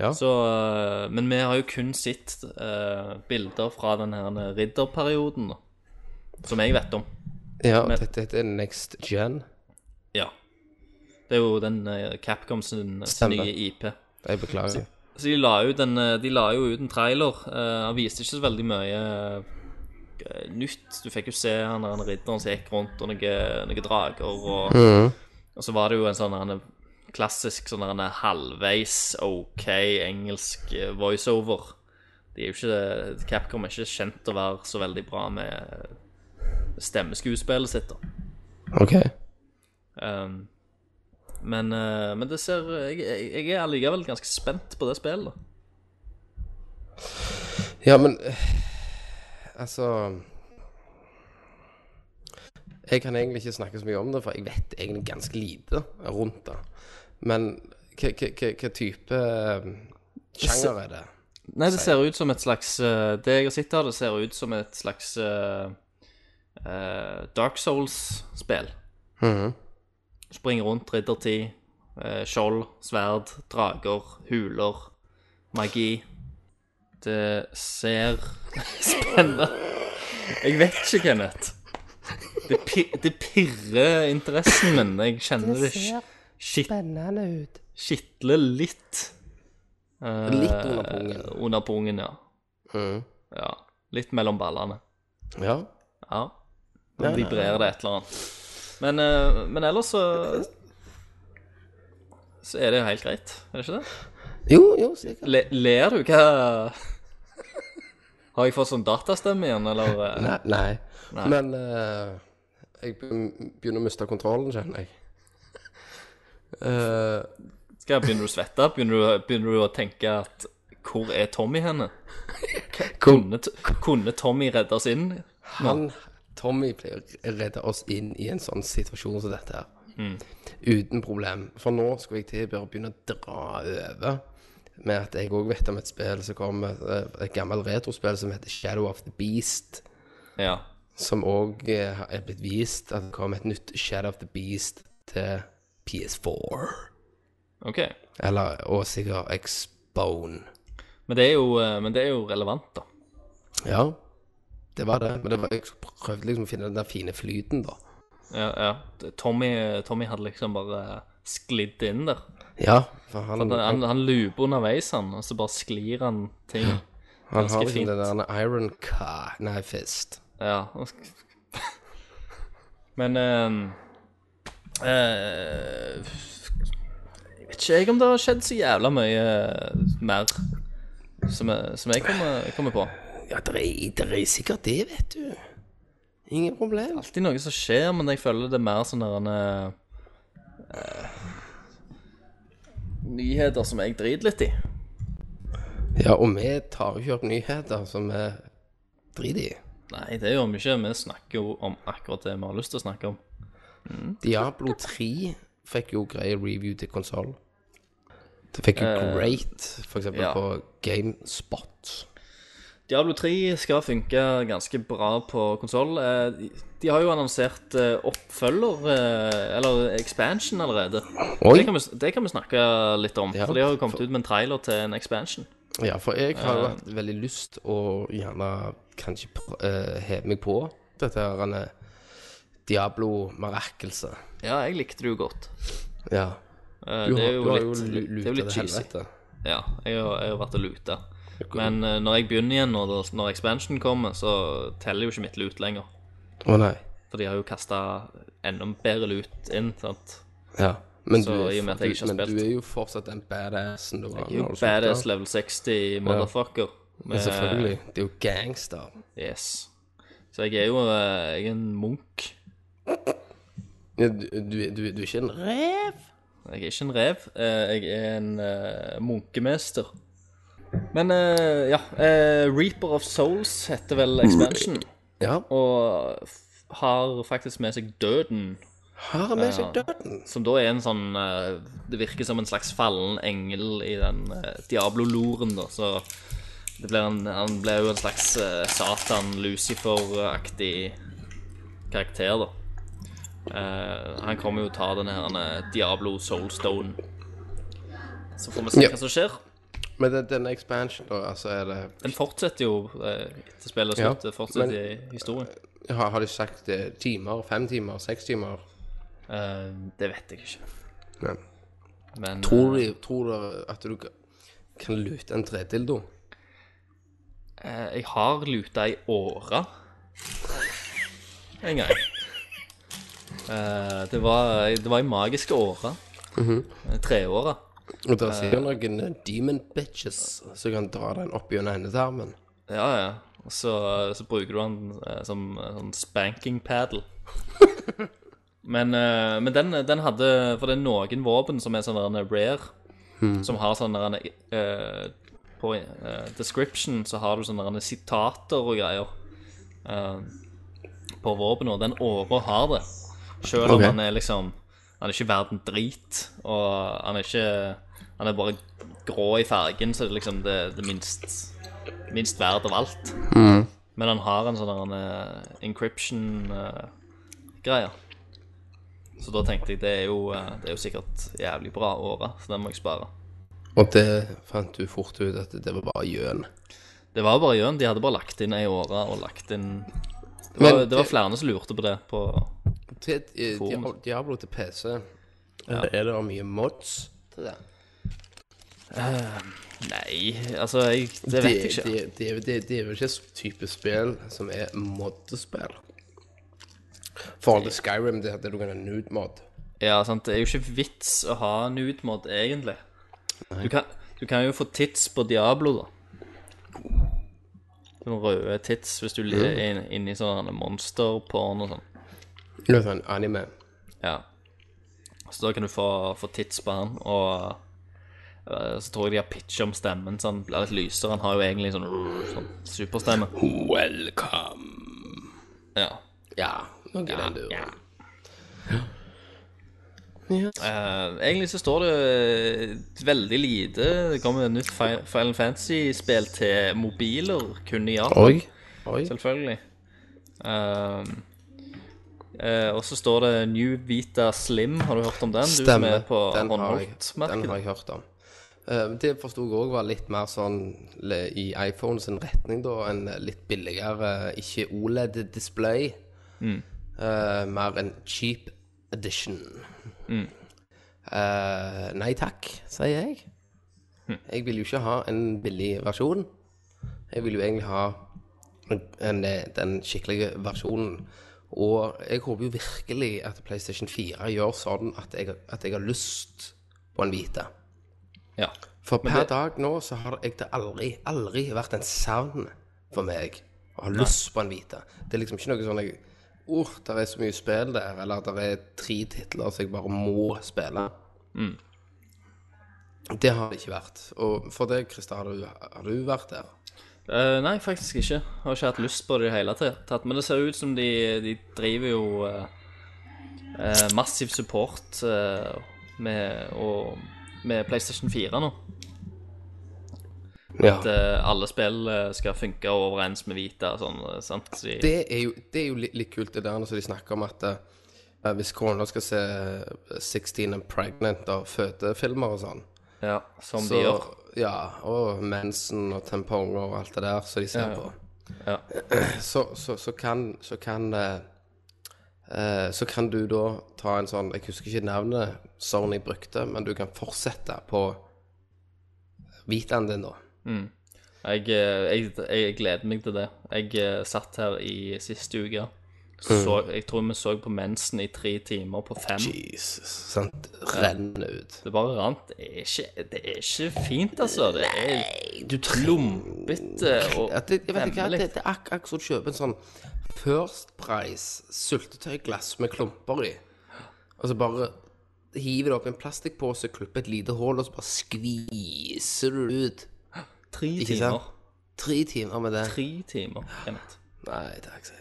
E: Ja.
D: Så, eh, men vi har jo kun sett eh, bilder fra den her ridderperioden, da, som jeg vet om.
E: ja
D: men-
E: dette dette er next gen.
D: Ja. Det er jo den eh, Capcom sin sin
E: Stemmer.
D: nye IP.
E: Jeg beklager.
D: Så de la, ut en, eh, de la jo ut en trailer. eh, han viste ikke så veldig mye eh, nytt. Du fikk jo se han der han ridderen som gikk rundt, og noen noe drager. Og, og så var det jo en sånn han, klassisk sånn han, halvveis OK engelsk eh, voiceover. De er jo ikke, Capcom er ikke kjent å være så veldig bra med eh, stemmeskuespillet sitt. da
E: OK.
D: Ehm, men, eh, men det ser jeg, jeg, jeg er allikevel ganske spent på det spillet. da.
E: Ja, men eh, Altså Jeg kan egentlig ikke snakke så mye om det, for jeg vet egentlig ganske lite rundt det. Men hva type eh, sjanger er det?
D: Nei, det ser ut som et slags eh, Det jeg har sett av det, ser ut som et slags eh, eh, Dark Souls-spill.
E: Mhm.
D: Springe rundt, riddertid, eh, skjold, sverd, drager, huler, magi. Det ser spennende Jeg vet ikke, Kenneth. Det, pi det pirrer interessen min. Jeg kjenner det sk- skit
E: Spennende ut.
D: skitler litt. eh,
E: Litt under pungen. Mhm.
D: Under pungen, ja. Ja, litt mellom ballene.
E: Ja.
D: Ja. Nå vibrerer det et eller annet. Men, eh, men ellers så Så er det jo helt greit, er det ikke det?
E: Jo, jo, sikkert.
D: Le, ler du? Hva Har jeg fått sånn datastemme igjen, eller? eh?
E: Nei. nei. Men eh, jeg be- begynner å miste kontrollen, kjenner jeg. Eh,
D: Skal, begynner du å svette? Begynner du, begynner du å tenke at Hvor er Tommy henne? Kunne, T- kunne Tommy reddes inn?
E: Han, Tommy pleier å redde oss inn i en sånn situasjon som dette her. Uten problem. For nå skal jeg til bare begynne å dra over med at jeg òg vet om et spill som kommer, eh, et gammelt retrospill som heter Shadow of the Beast.
D: Ja.
E: Som òg er blitt vist at det kommer et nytt Shadow of the Beast til PS4.
D: OK.
E: Eller, og sikkert Xbone.
D: Men det er jo, eh, men det er jo relevant, da.
E: Ja, det var det. Men det var, jeg prøvde liksom å finne den der fine flyten, da.
D: Ja, ja. Tommy, Tommy hadde liksom bare sklidd inn der.
E: Ja, for han,
D: Han, han, han looper underveis, han, og så bare sklir han ting.
E: Han har
D: Ganske
E: liksom
D: fint.
E: den der Iron Car Nei, Fist.
D: Ja. og sk- Men eh, eh, Jeg vet ikke jeg om det har skjedd så jævla mye eh, mer som jeg, som jeg kommer, kommer på.
E: Ja, det er, det er sikkert det, vet du. Ingen problem.
D: alltid noe som skjer, men jeg føler det er mer sånn der en eh, Nyheter som jeg driter litt i.
E: Ja, og vi tar jo ikke opp nyheter som vi driter i.
D: Nei, det gjør vi ikke. Vi snakker jo om akkurat det vi har lyst til å snakke om.
E: Diablo 3 fikk jo grei review til konsoll. Eh, Det fikk jo great, for eksempel
D: ja.
E: på GameSpot.
D: Diablo 3 skal funke ganske bra på konsoll. De de har jo annonsert eh, oppfølger, eh, eller expansion, allerede.
E: Oi.
D: Det kan, vi, s- det kan vi snakke litt om,
E: Ja.
D: for de har jo kommet ut med en trailer til en expansion.
E: Ja, for jeg har jo hatt veldig lyst å gjerne kanskje pr- eh, heve meg på dette her denne Diablo-merakelset.
D: Ja, jeg likte det jo godt.
E: Ja.
D: Eh,
E: Du
D: det
E: har
D: er
E: du
D: jo
E: har jo
D: litt,
E: lu-
D: det er
E: luta
D: jo litt
E: til
D: cheesy.
E: helvete.
D: Ja, jeg har, jeg har vært og luta. Men eh, når jeg begynner igjen, og da- når expansion kommer, så teller jo ikke mitt lut lenger.
E: Å nei.
D: For de har jo kasta enda bedre lut inn. sant?
E: Ja. Men,
D: Så
E: du,
D: i og
E: er,
D: med at jeg ikke har
E: men
D: spilt.
E: du er jo fortsatt den badassen du var.
D: Jeg er jo
E: når du slutta.
D: badass liksom. Eh. level 60 motherfucker.
E: Men
D: med-
E: Selvfølgelig. Det er jo gangster.
D: Yes. Så jeg er jo eh, jeg er en munk.
E: Ja, du, du, du, du er ikke en rev?
D: Jeg er ikke en rev. eh, Jeg er en eh, munkemester. Men eh, ja eh, Reaper of Souls heter vel expansion,
E: Ja.
D: og f- har faktisk med seg døden.
E: Har han med seg døden?
D: Som da er en sånn eh, Det virker som en slags fallen engel i den eh, Diablo-loren, da. Så det blir en, han blir jo en slags eh, Satan-Lucifer-aktig karakter, da. Eh, han kommer jo å ta den her eh, Diablo Soulstone. Så får vi se
E: Ja.
D: hva som skjer.
E: Men den, denne expansion, da, altså er det
D: Den fortsetter jo eh, til spillet er
E: Ja,
D: slutt. det fortsetter i historien.
E: Har, har de sagt eh, timer? Fem timer? Seks timer?
D: Eh, det vet jeg ikke.
E: Ja.
D: Men eh,
E: Tror du, tror du at du kan lute en tredildo?
D: Eh, Jeg har luta i åra. En gang. Eh, det, var, det var i magiske åra. Eh, Treåra.
E: Og der sier noen eh, demon bitches som kan dra den opp gjennom endetarmen.
D: Ja, ja. Og så, så bruker du den eh, som eh, sånn spanking paddle. men eh, men den, den hadde For det er noen våpen som er sånn der rare, som har sånn der eh, På eh, description så har du sånne der sitater og greier eh, på våpenet, og den åra har det. Selv om
E: Ok.
D: han er liksom Han er ikke verden drit, og han er ikke Han er bare grå i fargen, så det er liksom det, det minst minst verd av alt. Men han har en eh, sånn encryption-greie. så da tenkte jeg det er jo, eh, det er jo sikkert jævlig bra åra, så den må jeg spare.
E: Og det fant du fort ut at det var bare gjøn.
D: Det var bare gjøn. De hadde bare lagt inn ei åre og lagt inn det var,
E: Men-
D: det var flere som lurte på det. På,
E: Til eh,
D: Form.
E: Diablo, Diablo til PC, er det mye mods til det?
D: nei, altså jeg, Det vet jeg ikke.
E: Det, det, det, det, det er vel ikke så type spill som er moddespill. Forhold til Skyrim, det hadde du kan ha nude mod.
D: Ja, sant? Det er jo ikke vits å ha nude-mod, egentlig. Du kan, du kan jo få tits på Diablo, da. Sånne røde tits hvis du ligger inn, inni sånn monsterporn og sånn.
E: Det er sånn anime.
D: Ja. Så da kan du få, få tits på han, og eh, så tror jeg de har pitcha om stemmen, så han blir litt lysere. Han har jo egentlig sånn, sånn superstemme.
E: Welcome.
D: Ja.
E: Ja, noe i den duren.
D: Eh, egentlig så står det eh, veldig lite. Det kommer et nytt Fi- Final Fantasy-spill til mobiler, kun i Japan.
E: Oi. Oi.
D: Selvfølgelig. Ehm, eh, og så står det New Vita Slim. Har du hørt om den? Du som er på
E: den har jeg, den har
D: håndholdt-markedet.
E: jeg hørt om. Eh, det forsto jeg òg var litt mer sånn le- i iPhone sin retning, da. En litt billigere, eh, ikke E OLED-display.
D: Mm.
E: Eh, mer en cheap edition.
D: Mm.
E: Eh, nei takk, sier jeg.
D: Hm.
E: Jeg vil jo ikke ha en billig versjon. Jeg vil jo egentlig ha en, eh, den skikkelige versjonen. Og jeg håper jo virkelig at PlayStation 4 gjør sånn at jeg, at jeg har lyst på en hvite.
D: Ja.
E: For
D: Men
E: per
D: det-
E: dag nå så har jeg det aldri, aldri vært en savn for meg å ha lyst på en hvite. Det er liksom ikke noe sånn jeg Åh, der er så mye spill der, eller at det er tre titler som jeg bare må spille.
D: Mm.
E: Det har det ikke vært. Og for deg, Christer, har du, har du vært der?
D: Eh, nei, faktisk ikke. Har ikke hatt lyst på det i det hele tatt. Men det ser ut som de, de driver jo eh, eh, massiv support eh, med, og, med PlayStation 4 nå.
E: Ja.
D: At eh, alle spill eh, skal funke overens med Vita og sånn. eh, sant? Så de-
E: Det er jo, det er jo litt, litt kult, det der når de snakker om at eh, hvis kona skal se eh, 16 and Pregnant og fødefilmer og sånn
D: ja, som
E: så,
D: de gjør.
E: Ja, og mensen og tamponger og alt det der som de
D: Ja.
E: ser på.
D: Ja.
E: Så, så, så kan, så kan eh, eh, Så kan du da ta en sånn Jeg husker ikke navnet Sony brukte, men du kan fortsette på Vitaen din, da.
D: Jeg, eh, jeg, jeg gleder meg til det. Jeg eh, satt her i siste uke. Så, jeg tror vi så på mensen i tre timer på fem.
E: Jesus. Sant? Renner Sånn, ut.
D: Det bare rant. Det er ikke, det er ikke fint, altså. Det er
E: Du
D: lompete og
E: at det, jeg vet ikke, hva,
D: vemmelig.
E: det, det er ak akkurat som å kjøpe en sånn First Price syltetøyglass med klumper i. Og så bare hiver du opp i en plastikkpose, klipper et lite hull, og så bare skviser du det ut.
D: Tre
E: Ikke sant?
D: timer.
E: Tre timer med det.
D: Tre timer. Kenneth.
E: Nei, takk, sier jeg.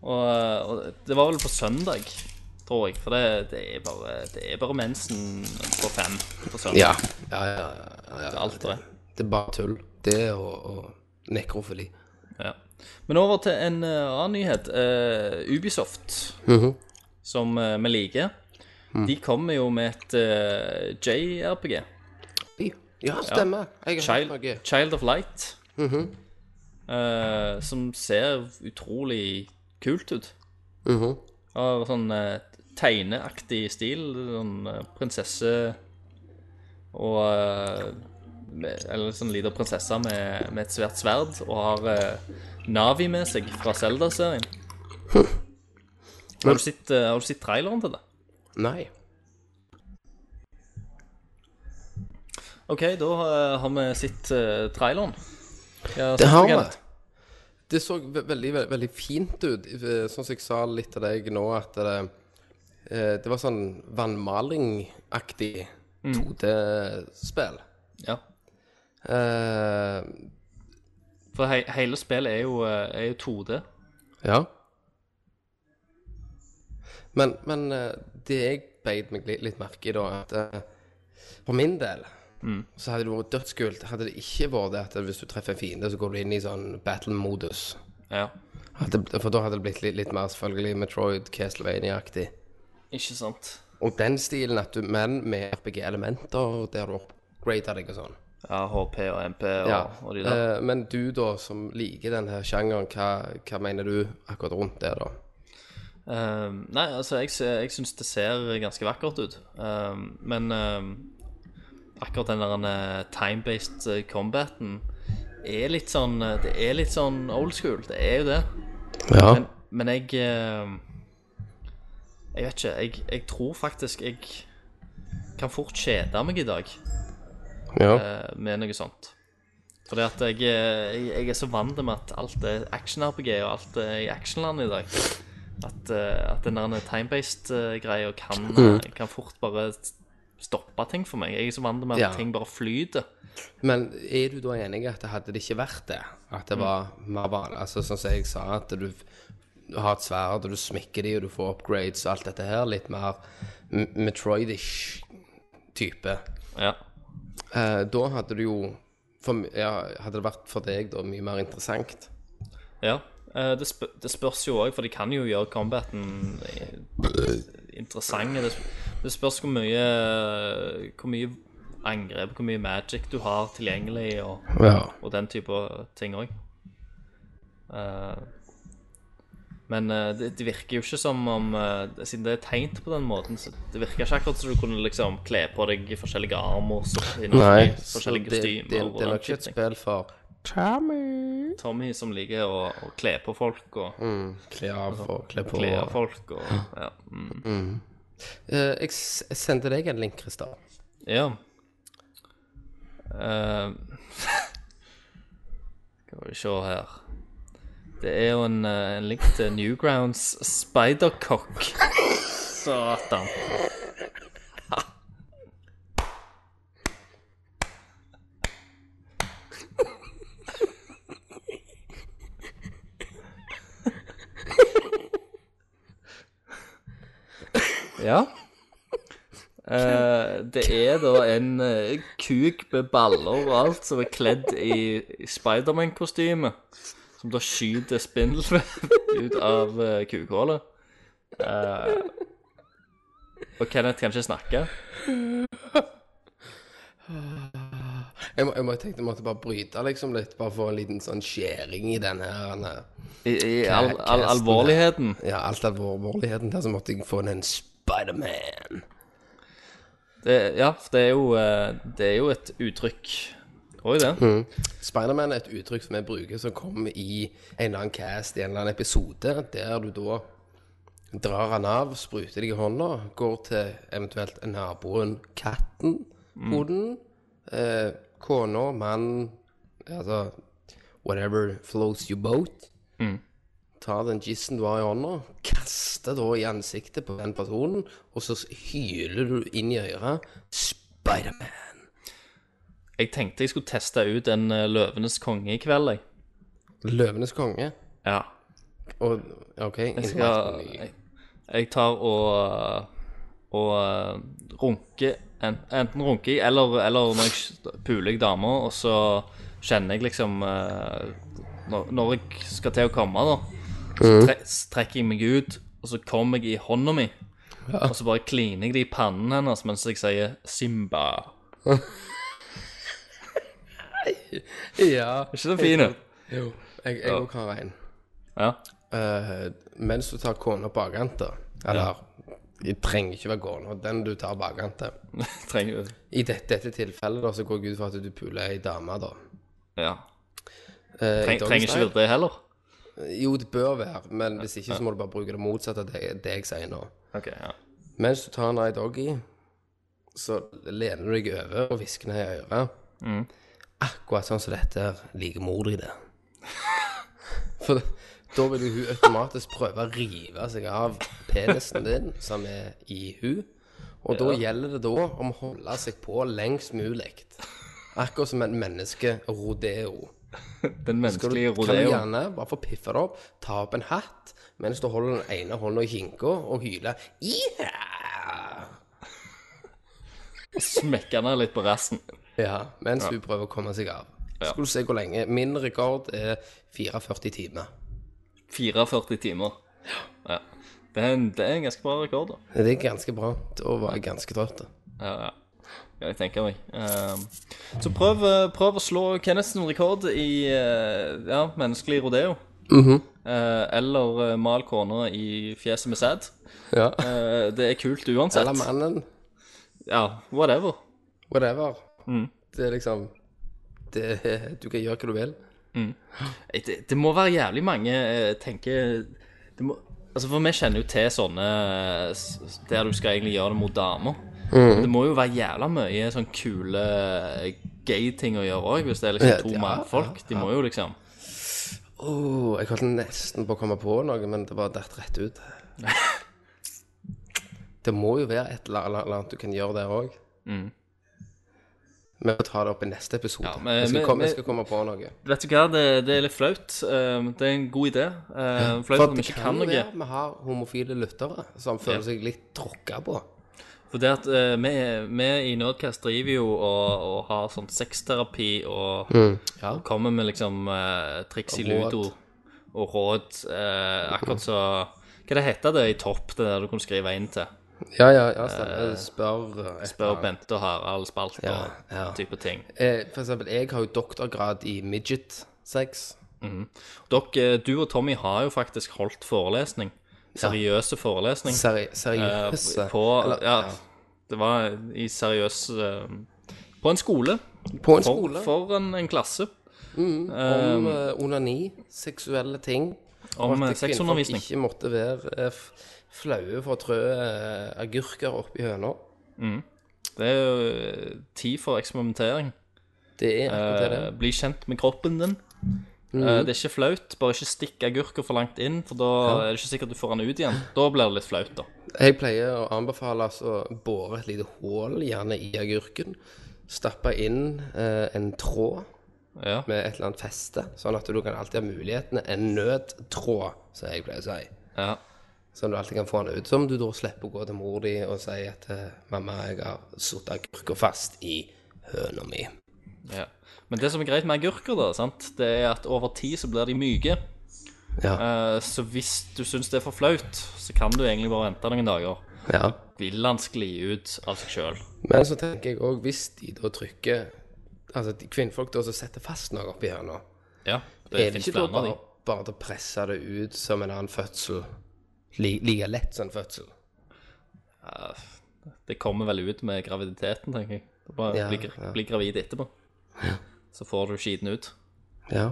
D: Og, og det var vel på søndag, tror jeg. For det, det, er, bare, det er bare mensen på fem på søndag.
E: Ja. Ja, ja, ja, ja.
D: Alt det.
E: Det er bare tull. Det og, og nekrofili.
D: Ja. Men over til en eh, annen nyhet. Eh, Ubisoft,
E: Mhm.
D: som eh, vi liker,
E: Mm.
D: de kommer jo med et eh, JRPG.
E: Oi. Ja, stemmer. Jeg har hørt noe.
D: Child,
E: Mhm.
D: Child of Light. eh, som ser utrolig kult ut.
E: Mhm.
D: Har sånn eh, tegneaktig stil. Sånn eh, prinsesse og eh, med, Eller sånn lita prinsesse med, med et svært sverd, og har eh, Navi med seg fra Zelda-serien. Har, du sett, eh, har du sett traileren til det?
E: Nei.
D: OK, da eh, har vi sett eh, traileren. Hva
E: Det
D: synes
E: har
D: du,
E: vi.
D: Kenneth?
E: Det så ve- veldig, ve- veldig fint ut, eh, sånn som jeg sa litt til deg nå, at det, eh, det var sånn vannmalingaktig 2D-spill.
D: Ja.
E: Eh,
D: For he hele spillet er jo, eh, er jo 2D.
E: ja. Men, men eh, det jeg beit meg litt, litt merke i, da, at eh, for min del så hadde det vært dødskult. Hadde det ikke vært det at hvis du treffer en fiende, så går du inn i sånn battle-modus.
D: Ja.
E: At det- For da hadde det blitt litt, litt mer selvfølgelig Metroid Castlevania-aktig.
D: Ikke sant?
E: Og den stilen at du Men med RPG-elementer der du upgrader deg og sånn.
D: Ja, HP og MP og, og de der.
E: Eh, men du, da, som liker denne sjangeren, hva, hva mener du akkurat rundt det, da?
D: Ehm, nei, altså, jeg, sy- jeg syns det ser ganske vakkert ut. Ehm, men ehm, akkurat den der eh, time-based eh, combaten er litt sånn eh, Det er litt sånn old school. Det er jo det.
E: Ja.
D: Men, men jeg ehm, Jeg vet ikke. Jeg, jeg tror faktisk jeg kan fort kjede meg i dag.
E: ja.
D: eh, med noe sånt. Fordi at jeg, eh, jeg, jeg er så vant med at alt er action-RPG og alt er i actionland i dag. At, eh, at den der time-based-greia kan, eh, kan fort bare stoppe ting for meg. Jeg er så vant med at
E: Ja.
D: ting bare flyter.
E: Men er du da enig i at hadde det ikke vært det, at
D: Mm.
E: det var mer vanlig Altså sånn som jeg sa, at du du har et sverd, og du smikker de, og du får upgrades og alt dette her, litt mer M- Metroidish type.
D: Ja.
E: Eh, da hadde det jo for, m- ja, Hadde det vært for deg da mye mer interessant.
D: ja. Eh, Det, sp det spørs jo òg, for de kan jo gjøre combaten i- interessant. Det, sp det spørs hvor mye, hvor mye angrep, hvor mye magic du har tilgjengelig. og...
E: Ja.
D: og den type ting òg. men eh, det, det virker jo ikke som om eh, Siden det er tegnet på den måten, så det virker ikke akkurat som du kunne liksom kle på deg forskjellige armer og
E: Nei, Eh, så
D: forskjellige
E: det, det,
D: kostymer.
E: det
D: og
E: er
D: den
E: nok ikke
D: type
E: et
D: ting.
E: spill for
D: Tommy som liker å, å kle på folk og
E: Mm. kle av og kle på.
D: Altså, kle av folk og ja. Mm.
E: Eh, jeg s- jeg sendte deg en link, Christer.
D: ja. Eh, skal vi se her Det er jo en, eh, en link til Newgrounds Spidercock. Satan. Ja. Eh, det er da en eh, kuk med baller og alt som er kledd i i Spiderman-kostyme. Som da skyter spindelvev ut av uh, kukhullet. Eh, og Kenneth kan ikke snakke.
E: Jeg, må, jeg må tenkte jeg måtte bare bryte liksom litt, bare få en liten sånn skjæring i den her. den her.
D: I, i all, all alvorligheten.
E: Ja, alt alvorligheten der, så måtte jeg få inn en Spiderman.
D: Det, ja, for det er jo, eh, det er jo et uttrykk. Oi, det.
E: Spiderman er et uttrykk som jeg bruker som kommer i en eller annen cast i en eller annen episode, der du da drar han av, spruter deg i hånda, går til eventuelt naboen, katten, hoden, eh, kona, mannen, altså whatever flows your boat. Tar den gissen du har i hånda, kaster da i ansiktet på den personen, og så hyler du inn i øret Spiderman.
D: Jeg tenkte jeg skulle teste ut en eh, Løvenes konge i kveld, jeg.
E: Løvenes konge.
D: Ja.
E: Og OK.
D: Jeg, skal, jeg, jeg tar og, og eh, runker en, Enten runker jeg, eller, eller når jeg puler jeg damer, og så kjenner jeg liksom eh, når, når jeg skal til å komme, da, så
E: Mm.
D: tre, s- trekker jeg meg ut, og så kommer jeg i hånda mi. Og så bare kliner jeg det i pannen hennes mens jeg sier 'Simba'.
E: Ja.
D: Er ikke det fint?
E: Jo, jeg òg har en.
D: Ja.
E: Eh, mens du tar kona bakant, da Eller Det trenger ikke være kona, den du tar bakant til.
D: Trenger du
E: I dette, dette tilfellet da, så går jeg ut fra at du puler ei dame, da.
D: Ja.
E: Eh, i
D: Treng,
E: dagens
D: trenger ikke
E: dag-
D: være det heller.
E: Jo, det bør være, men hvis ikke så må du bare bruke det motsatte av det, det jeg sier nå.
D: Ok, ja.
E: Mens du tar Night Doggy, så lener du deg over og hvisker ned i øret. Akkurat sånn som dette her liker mor di det. For da vil jo hun automatisk prøve å rive seg av penisen din, som er i hun. Og da gjelder det da om å holde seg på lengst mulig. Akkurat som en menneske-rodeo.
D: Den
E: Skal
D: menneskelige
E: du, kan du
D: rodeoen.
E: gjerne bare få piffa det opp, ta opp en hatt, mens du holder den ene hånda i kinka og hyler «Iha!»
D: Smekke ned litt på resten.
E: Ja, mens hun prøver å komme seg av. Skal du se hvor lenge. Min rekord er 44 timer.
D: 44 timer. Ja. Det er en, det er en ganske bra rekord, da.
E: Det er ganske bra. Da var jeg ganske trøtt.
D: Ja, ja. Ja, jeg tenker meg. Ehm, så prøv, eh, prøv å slå Kenneths rekord i eh, ja, menneskelig rodeo. Eh, eller eh, mal kona i fjeset med sæd.
E: Ja.
D: Eh, det er kult uansett.
E: Eller mannen.
D: Ja, whatever.
E: Whatever. Det er liksom det, Du kan gjøre hva du vil.
D: Nei, Det, det må være jævlig mange eh, tenker det må, Altså For vi kjenner jo til sånne eh, s- der du skal egentlig gjøre det mot damer.
E: Mm.
D: Det må jo være jævla mye sånn kule gay-ting å gjøre òg, hvis det er
E: Ja,
D: liksom to
E: ja,
D: mannfolk. De må jo liksom
E: Åh, jeg holdt nesten på å komme på noe, men det bare datt rett ut. det må jo være et eller annet- eller annet du kan gjøre der òg. Vi får ta det opp i neste episode.
D: Ja, men-
E: jeg, skal
D: men-
E: komme, jeg
D: men-
E: skal komme på noe.
D: Vet du hva, det, det er litt flaut. Eh, Det er en god idé. Eh, Flaut at vi ikke kan
E: jo
D: noe.
E: være vi har homofile lyttere som føler seg litt tråkka på.
D: For det at eh, vi, vi i Nerdcast driver jo og, og har sånn sexterapi og
E: Ja.
D: og kommer med liksom eh, triks i
E: Og råd.
D: ludo og råd. eh, akkurat så Hva det heter det i topp, det der du kunne skrive inn til?
E: Ja, ja, ja, stemmer. Spør eh, et
D: Spør
E: eller annet.
D: Bente og Harald Spalt og
E: Ja, ja.
D: type ting.
E: Eh, For eksempel, jeg har jo doktorgrad i midget-sex.
D: Dere, eh, du og Tommy har jo faktisk holdt forelesning. Seriøse forelesning.
E: Seri
D: eh,
E: seriøse.
D: på
E: Eller-
D: Ja, det var i seriøs eh, På en skole.
E: på en
D: For,
E: skole.
D: for en, en klasse.
E: Om eh, onani, seksuelle ting. og
D: Om
E: at
D: eh,
E: kvinnfolk
D: sexundervisning.
E: Ikke måtte være eh, f- flaue for å trø eh, agurker oppi høna.
D: Det er jo eh, tid for eksperimentering.
E: Det er akkurat det Mhm. det.
D: Eh, Bli kjent med kroppen din. Eh, det er ikke flaut. Bare ikke stikk agurker for langt inn, for da er det ikke sikkert du får den ut igjen. Da blir det litt flaut, da.
E: er. Jeg pleier å anbefale oss å bore et lite hull, gjerne i agurken. Stappe inn eh, en tråd
D: Ja.
E: med et eller annet feste, sånn at du kan alltid ha mulighetene. En nødtråd, som jeg pleier å si.
D: ja.
E: Sånn du alltid kan få den ut. Som du da slipper å gå til mor di og si at eh, 'mamma, jeg har satt agurker fast i høna mi'.
D: Ja. Men det som er greit med agurker, da, sant? det er at over tid så blir de myke.
E: Ja.
D: Eh, Så hvis du syns det er for flaut, så kan du egentlig bare vente noen dager.
E: ja.
D: Vil han skli ut av seg sjøl?
E: Men så tenker jeg òg, hvis de da trykker Altså de kvinnfolk da som setter fast noe oppi høna,
D: Ja, det
E: er det
D: finnes
E: ikke
D: flere
E: da
D: av
E: bare,
D: de.
E: bare til å presse det ut som en annen fødsel? Li- Like lett som en fødsel?
D: Det kommer vel ut med graviditeten, tenker jeg. Det er bare
E: Ja,
D: blir,
E: ja.
D: blir gravid etterpå. Så får du skiten ut.
E: Ja.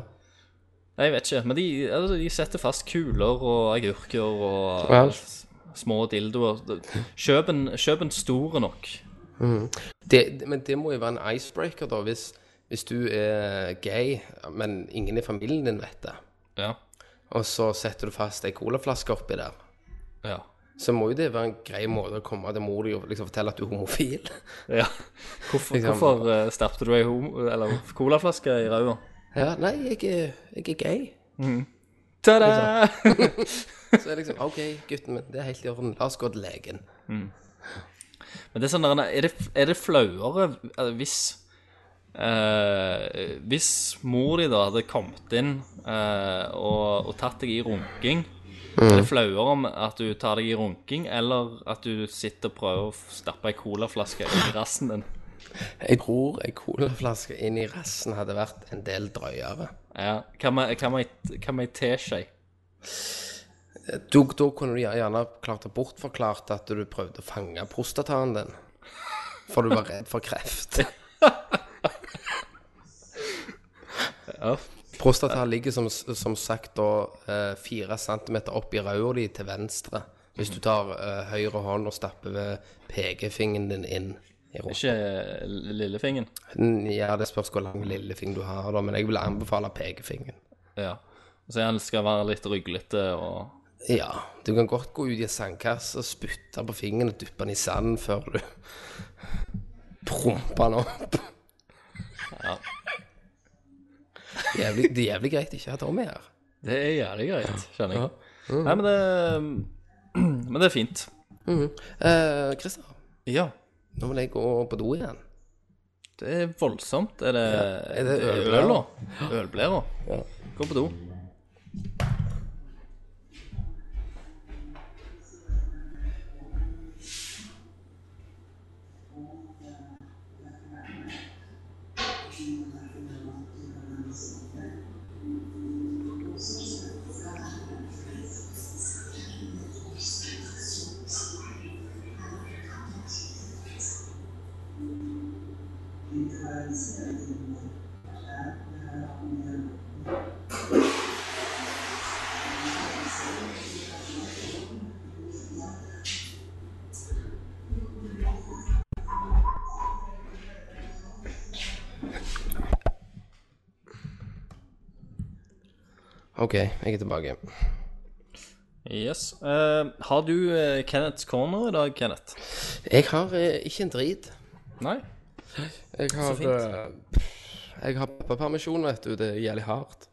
D: Nei, jeg vet ikke, men de, altså, de setter fast kuler og agurker og
E: Vel.
D: s- små dildoer. Kjøp en, kjøp en store nok.
E: Det, men det må jo være en icebreaker, da, hvis, hvis du er gay, men ingen i familien din vet det,
D: Ja.
E: og så setter du fast ei colaflaske oppi der,
D: Ja.
E: så må jo det være en grei måte å komme til mor di og liksom fortelle at du er homofil.
D: ja. Hvorfor,
E: Liksom-
D: hvorfor eh, stappte du ei homo- eller colaflaske i ræva?
E: Ja, nei, jeg er, jeg er gay.
D: Ta-da!
E: Så er det liksom OK, gutten min, det er helt i orden, la oss gå til legen.
D: Men det er sånn der, er det, er det flauere eh, hvis eh, Hvis mor di da hadde kommet inn eh, og, og tatt deg i runking Er det flauere om at du tar deg i runking, eller at du sitter og prøver å stappe ei colaflaske i rassen din?
E: Jeg tror ei colaflaske inn i rassen hadde vært en del drøyere.
D: Ja, Hva med- hva med ei- hva med ei teskje?
E: Du, da kunne du gjerne klart å bortforklart at du prøvde å fange prostataen din. For du var redd for kreft. Prostata ligger som, som sagt da eh, fire centimeter opp i ræva di til venstre. Hvis du tar eh, høyre hånd og stapper ved pekefingeren din inn i rumpa.
D: Ikke eh, lillefingeren?
E: Ja, det spørs hvor lang lillefinger du har, da, men jeg vil anbefale pekefingeren.
D: Ja. Så han skal være litt ryglete og
E: Ja, du kan godt gå ut i en sandkasse, spytte på fingeren og dyppe den i sanden før du promper den opp. Det er jævlig, det er jævlig greit ikke å ha Tommy her.
D: Det er jævlig greit, kjenner jeg. Nei, men det, men det er fint.
E: Eh, Christer,
D: Ja.
E: nå vil jeg gå på do igjen.
D: Det er eh, voldsomt. Er det,
E: er det ølblæra?
D: øla? Ølblæra? Gå på do.
E: OK, jeg er tilbake.
D: Yes. Eh, har du eh, Kenneths corner i dag, Kenneth?
E: Jeg har eh, ikke en drit.
D: Nei?
E: Jeg har, eh, jeg har pappapermisjon, vet du. Det er jævlig hardt.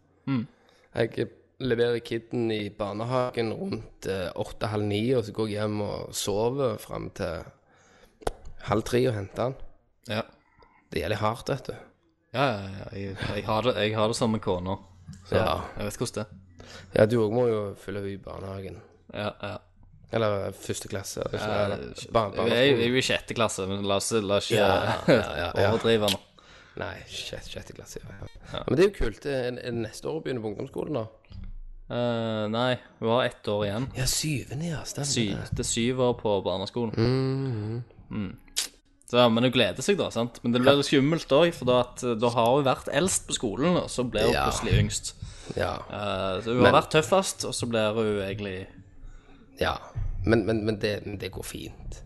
E: Jeg leverer kiden i barnehagen rundt eh, åtte-halv ni, og så går jeg hjem og sover fram til halv tre og henter han.
D: Ja.
E: Det er jævlig hardt, vet du.
D: Ja, ja, ja. Jeg, jeg, har det, jeg har det samme corner. Så
E: Ja.
D: jeg vet hvordan det er.
E: Ja, du òg må jo følge henne i barnehagen.
D: Ja, ja.
E: Eller eh, første klasse. Eller, ikke, eller, barn,
D: Jeg, jeg, jeg er jo i sjette klasse, men la oss, la oss ikke overdrive nå.
E: Nei, sjette, sjette klasse. Ja. Men det er jo kult. Det er, er det neste år å begynne på ungdomsskolen, da?
D: Eh, nei, hun har ett år igjen.
E: Ja, syvende, ja. Mhm. Stemmer
D: Sy, det er syv år på barneskolen. Mm. Så, ja, men hun gleder seg, da. sant? Men det blir skummelt òg, for da, at, eh, da har hun vært eldst på skolen, og så blir hun
E: Ja.
D: plutselig yngst.
E: det. Ja.
D: Eh, så hun har vært tøffest, og så blir hun egentlig
E: Ja, men, men, men det, men det går fint.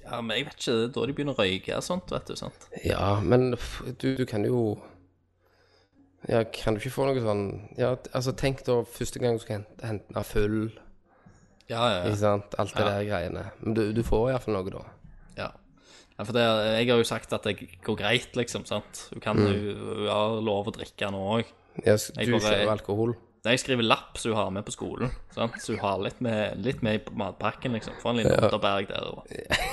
D: Ja, men jeg vet ikke, det er da de begynner å røyke og sånt, vet du. sant?
E: Ja, men f- du, du kan jo Ja, kan du ikke få noe sånn Ja, t- altså, tenk da første gang du skal hente, hente den full,
D: Ja, ja,
E: ikke sant, alt det
D: Ja.
E: der greiene. Men du, du får iallfall noe, da.
D: ja. ja for det, jeg har jo sagt at det går
E: Mm.
D: greit, liksom. sant? Hun, kan, hun, hun har lov å drikke nå òg.
E: Ja, s-
D: Jeg
E: du
D: går-
E: kjører alkohol.
D: Nei, jeg skriver lapp som hun har med på skolen. Sant? Så hun har litt med, litt med i matpakken, liksom. Får en liten
E: Ja.
D: Otterberg derover.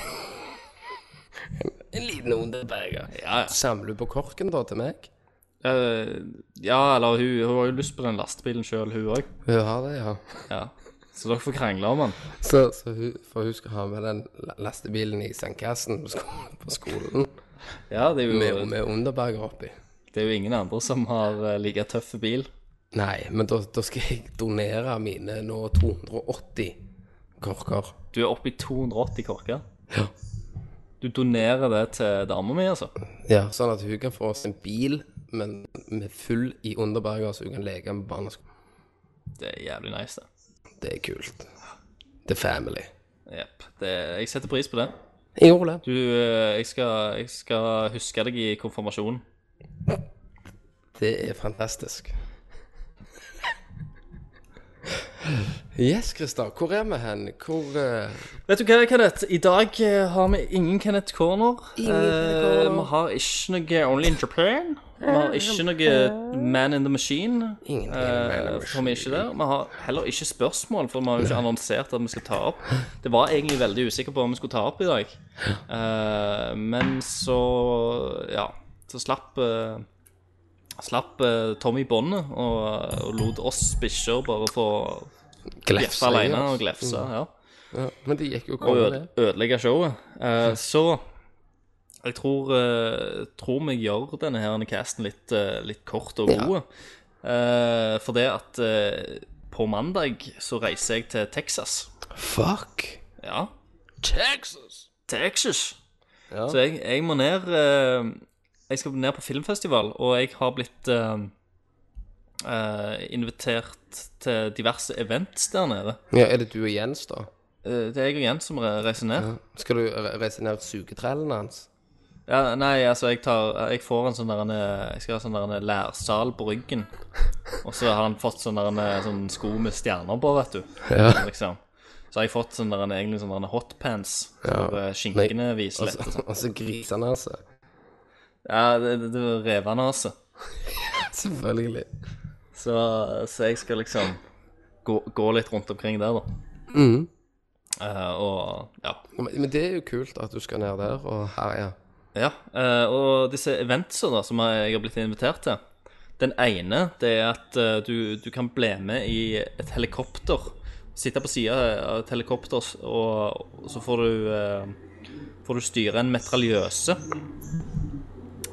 E: En liten underberger.
D: Ja, ja.
E: Samler du på korken da til meg?
D: Eh, ja, eller hun, hun har jo lyst på den lastebilen sjøl, hun òg.
E: Hun har det, ja.
D: Ja. Så dere får krangle om den.
E: Så, så hun, for hun skal ha med den la- lastebilen i sandkassen på skolen, på skolen
D: Ja, det er jo,
E: med, med underberger oppi.
D: Det er jo ingen andre som har eh, like tøff bil.
E: Nei, men da, da skal jeg donere mine nå 280 korker.
D: Du er oppe i 280 korker.
E: Ja.
D: Du donerer det til dama mi, altså?
E: Ja, sånn at hun kan få oss en bil, men med full i underberger, så hun kan leke med barneskolen.
D: Det er jævlig nice, det.
E: Det er kult. Det er family.
D: Jepp. Det- Jeg setter pris på det.
E: Jeg gjorde det.
D: Du, eh, jeg skal, jeg skal huske deg i konfirmasjonen.
E: Det er fantastisk. Yes, Christer. Hvor er vi hen? Hvor eh,
D: Vet du hva, Kenneth? I dag eh, har vi ingen Kenneth Corner.
E: Ingen Kenneth
D: Eh,
E: Corner.
D: vi har ikke noe Only in Japan. Vi har ikke noe Man in the Machine.
E: Ingenting
D: Eh,
E: Man in the
D: får vi ikke det. Vi har heller ikke spørsmål, for vi har jo ikke annonsert at vi skal ta opp. Det var egentlig veldig usikker på om vi skulle ta opp i dag. Eh, men så Ja. Så slapp eh, Slapp eh, Tommy båndet og, og lot oss bikkjer bare få
E: Glefse
D: bjeffe
E: i
D: alene
E: oss? Mm.
D: og glefse. Ja
E: Ja, men det gikk jo
D: og
E: konge, det.
D: øde- ødelegge showet. Eh, så jeg tror, eh, tror vi gjør denne her casten litt, eh, litt kort og
E: Ja.
D: god. Eh, for det at eh, på mandag så reiser jeg til Texas.
E: Fuck.
D: Ja. Texas! Texas.
E: Ja.
D: Så jeg, jeg må ned eh, Jeg skal ned på filmfestival, og jeg har blitt eh, eh, invitert til diverse events der nede.
E: Ja, er det du og Jens, da?
D: Eh, det er jeg og Jens som re- reiser ned.
E: Skal du re- reise ned sugetrellene hans?
D: Ja, nei, altså, jeg tar Jeg får en sånn der en, Jeg skal ha sånn der en lærsal på ryggen. Og så har han fått sånn der en sånn sko med stjerner på, vet du.
E: Ja.
D: Liksom. Så har jeg fått sånn der en egentlig sånn der en hotpants.
E: Ja. altså.
D: Hvor eh, skinkene viser litt. og sånn.
E: Og så grisene, altså.
D: Ja, det, det, det er revenase.
E: Selvfølgelig.
D: Så, så jeg skal liksom gå, gå litt rundt omkring der, da. Eh, og ja.
E: Men, men det er jo kult at du skal ned der og herje.
D: Ja, eh, og disse eventsa da, som jeg har blitt invitert til Den ene det er at eh, du, du kan bli med i et helikopter. Sitte på sida av et helikopter, s- og, og så får du, eh, får du styre en metraljøse.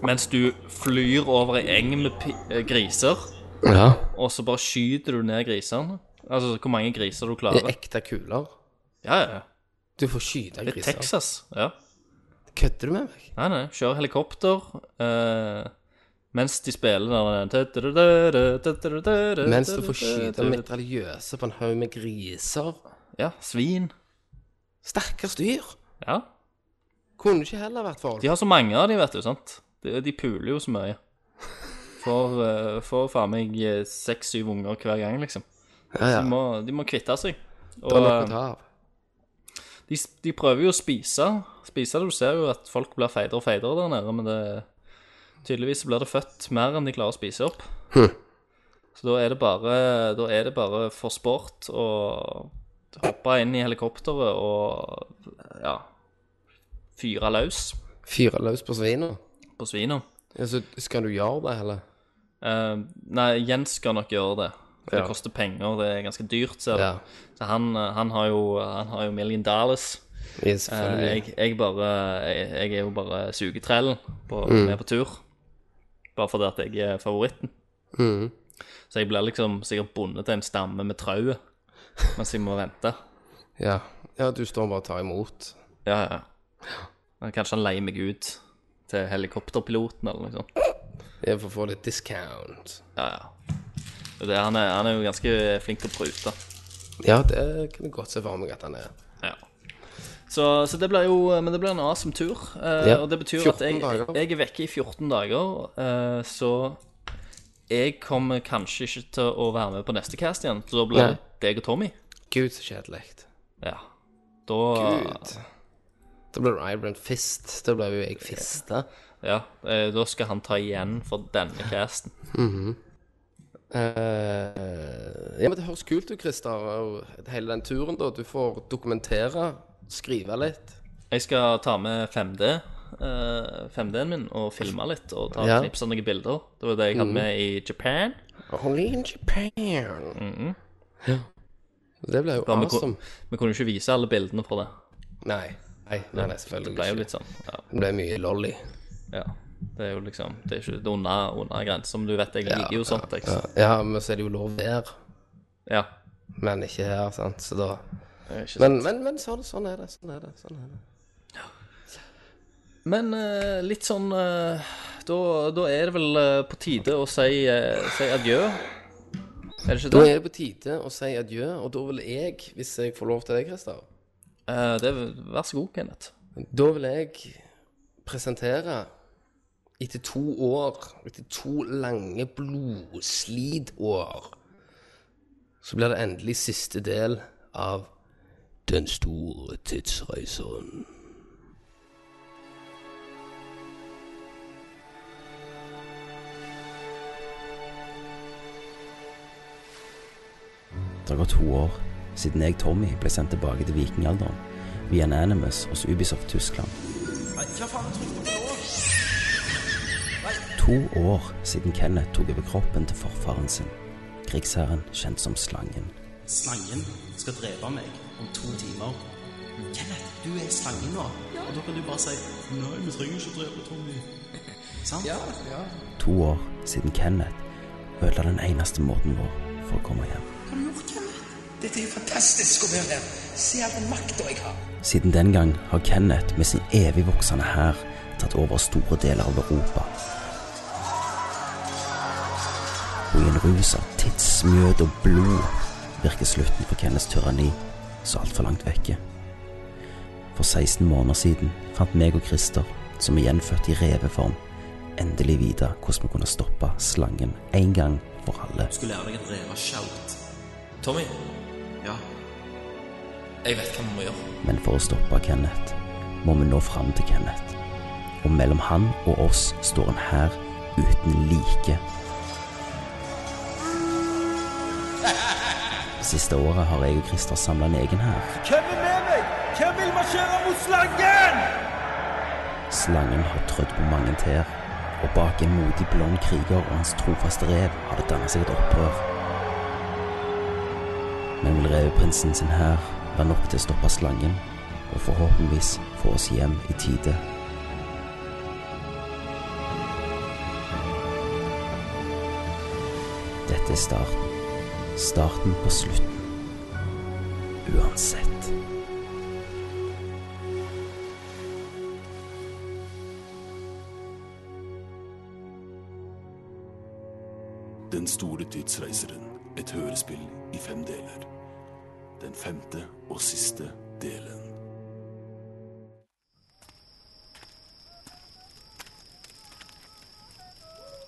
D: Mens du flyr over ei eng med pi eh, griser,
E: Ja.
D: og så bare skyter du ned grisene. Altså hvor mange griser du
E: Det er
D: klarer.
E: ekte kuler.
D: Ja, ja, ja.
E: Du får skyte
D: Det er
E: griser.
D: Texas. ja.
E: Kødder du med meg?
D: Nei, nei, kjører helikopter eh, mens de spiller den
E: Mens du får skyte mitraljøse på en haug med griser.
D: Ja, svin.
E: Stakkars dyr!
D: Ja.
E: Kunne ikke heller vært folk.
D: De har så mange av de, vet du, sant? De, de puler jo så mye. Får eh, får faen meg eh, seks-syv unger hver gang, liksom.
E: Ja, ja.
D: De må, de må kvitte seg.
E: Det
D: Og
E: er noe å
D: eh,
E: ta av.
D: de, de prøver jo å spise. Spise det, Du ser jo at folk blir feitere og feitere der nede, men det tydeligvis blir det født mer enn de klarer å spise opp.
E: Hm.
D: Så da er det bare, da er det bare for sport å hoppe inn i helikopteret og ja, fyre løs
E: Fyre løs på svina.
D: på svina.
E: Ja, så skal du gjøre det, eller?
D: Eh, nei, Jens skal nok gjøre det. For
E: Ja.
D: Det koster penger, det er ganske dyrt, ser du.
E: Ja.
D: Så han, eh, han, har jo, han har jo million dollars.
E: Ja,
D: Eh,
E: selvfølgelig.
D: jeg, jeg bare jeg, jeg er jo bare sugetrellen på, med på tur. Bare fordi at jeg er favoritten. Så jeg blir liksom sikkert bundet til en stamme med trauet mens jeg må vente.
E: Ja. ja, du står bare og tar imot.
D: Ja, ja. Men Kanskje han leier meg ut til helikopterpiloten eller noe sånt.
E: Jeg får få litt discount.
D: Ja, ja. Det, han, er, han er jo ganske flink til å prute.
E: Ja, det kan jeg godt se for meg at han er.
D: Ja. Så, så det blir jo eh, Men det blir en awesome tur. eh,
E: Ja,
D: og det betyr at
E: 14
D: jeg,
E: dager.
D: jeg er vekke i 14 dager, eh, så jeg kommer kanskje ikke til å være med på neste cast igjen. Så da blir
E: Nei.
D: det deg og Tommy.
E: Gud, så kjedelig.
D: Ja. Da
E: Gud. Da blir det Iron Fist. Da blir jo jeg fista.
D: Ja, eh, da skal han ta igjen for denne casten.
E: Eh, ja, men Det høres kult ut, Christer, og hele den turen. da Du får dokumentere, skrive litt.
D: Jeg skal ta med 5D. eh, 5D-en min og filme litt og ta
E: Ja. Mm.
D: knips av noen bilder. Det var det jeg hadde med i Japan.
E: Only in Japan. Ja. Det ble jo
D: Da vi,
E: awesome.
D: kunne, vi kunne jo ikke vise alle bildene fra det.
E: Nei, nei, nei, nei
D: Det
E: selvfølgelig
D: ble jo
E: ikke.
D: litt sånn. Ja.
E: Det ble mye lolly.
D: ja. Det er jo liksom Det er ikke det er under, under grenser, men du vet jeg liker jo sånt. Jeg.
E: Ja, ja, men så er det jo lov der,
D: Ja.
E: men ikke her, sant. Så da
D: det er ikke sant.
E: Men, men, men sånn, sånn er det. Sånn er det. sånn er det.
D: Men eh, litt sånn eh, da, da er det vel eh, på tide å si, eh, si adjø. Er det ikke
E: Da
D: det?
E: er det på tide å si adjø, og da vil jeg, hvis jeg får lov til det, Christer
D: Eh, det er, vær så god, Kenneth.
E: Da vil jeg presentere etter to år, etter to lange blodslitår, så blir det endelig siste del av Den store tidsreisen.
G: Det går to år siden jeg, Tommy, ble sendt tilbake til vikingalderen via Anonymous hos Ubisoft Tyskland. To år siden Kenneth tok over kroppen til forfaren sin, krigsherren kjent som Slangen.
H: Slangen skal drepe meg om to timer. Kenneth, du er slangen nå. Og da kan du bare si Nei, vi trenger ikke drepe Tommy. Sant?
G: To år siden Kenneth ødela den eneste måten vår for å komme hjem.
H: Hva har du gjort, Kenneth? Dette er jo fantastisk å være her. Se all den makta jeg har.
G: Siden den gang har Kenneth med sin evig voksende hær tatt over store deler av Europa. Og i en rus av tidsmjød og blod virker slutten på Kenneths tyranni så altfor langt vekke. For 16 måneder siden fant meg og Christer, som er gjenfødt i reveform, endelig vite hvordan vi kunne stoppe slangen en gang for alle.
H: Du lærer deg en revashout.
D: Tommy,
H: Ja.
D: jeg vet hva vi må gjøre.
G: Men for å stoppe Kenneth, må vi nå fram til Kenneth. Og mellom han og oss står en hær uten like. Det siste året har jeg og Christer samla en egen hær. Slangen har trødd på mange tær, og bak en modig blond kriger og hans trofaste rev har det dannet seg et opprør. Men vil reveprinsen sin hær være nok til å stoppe slangen, og forhåpentligvis få oss hjem i tide? Dette er starten. Starten på slutten. Uansett.
I: Den store tidsreiseren. Et hørespill i fem deler. Den femte og siste delen.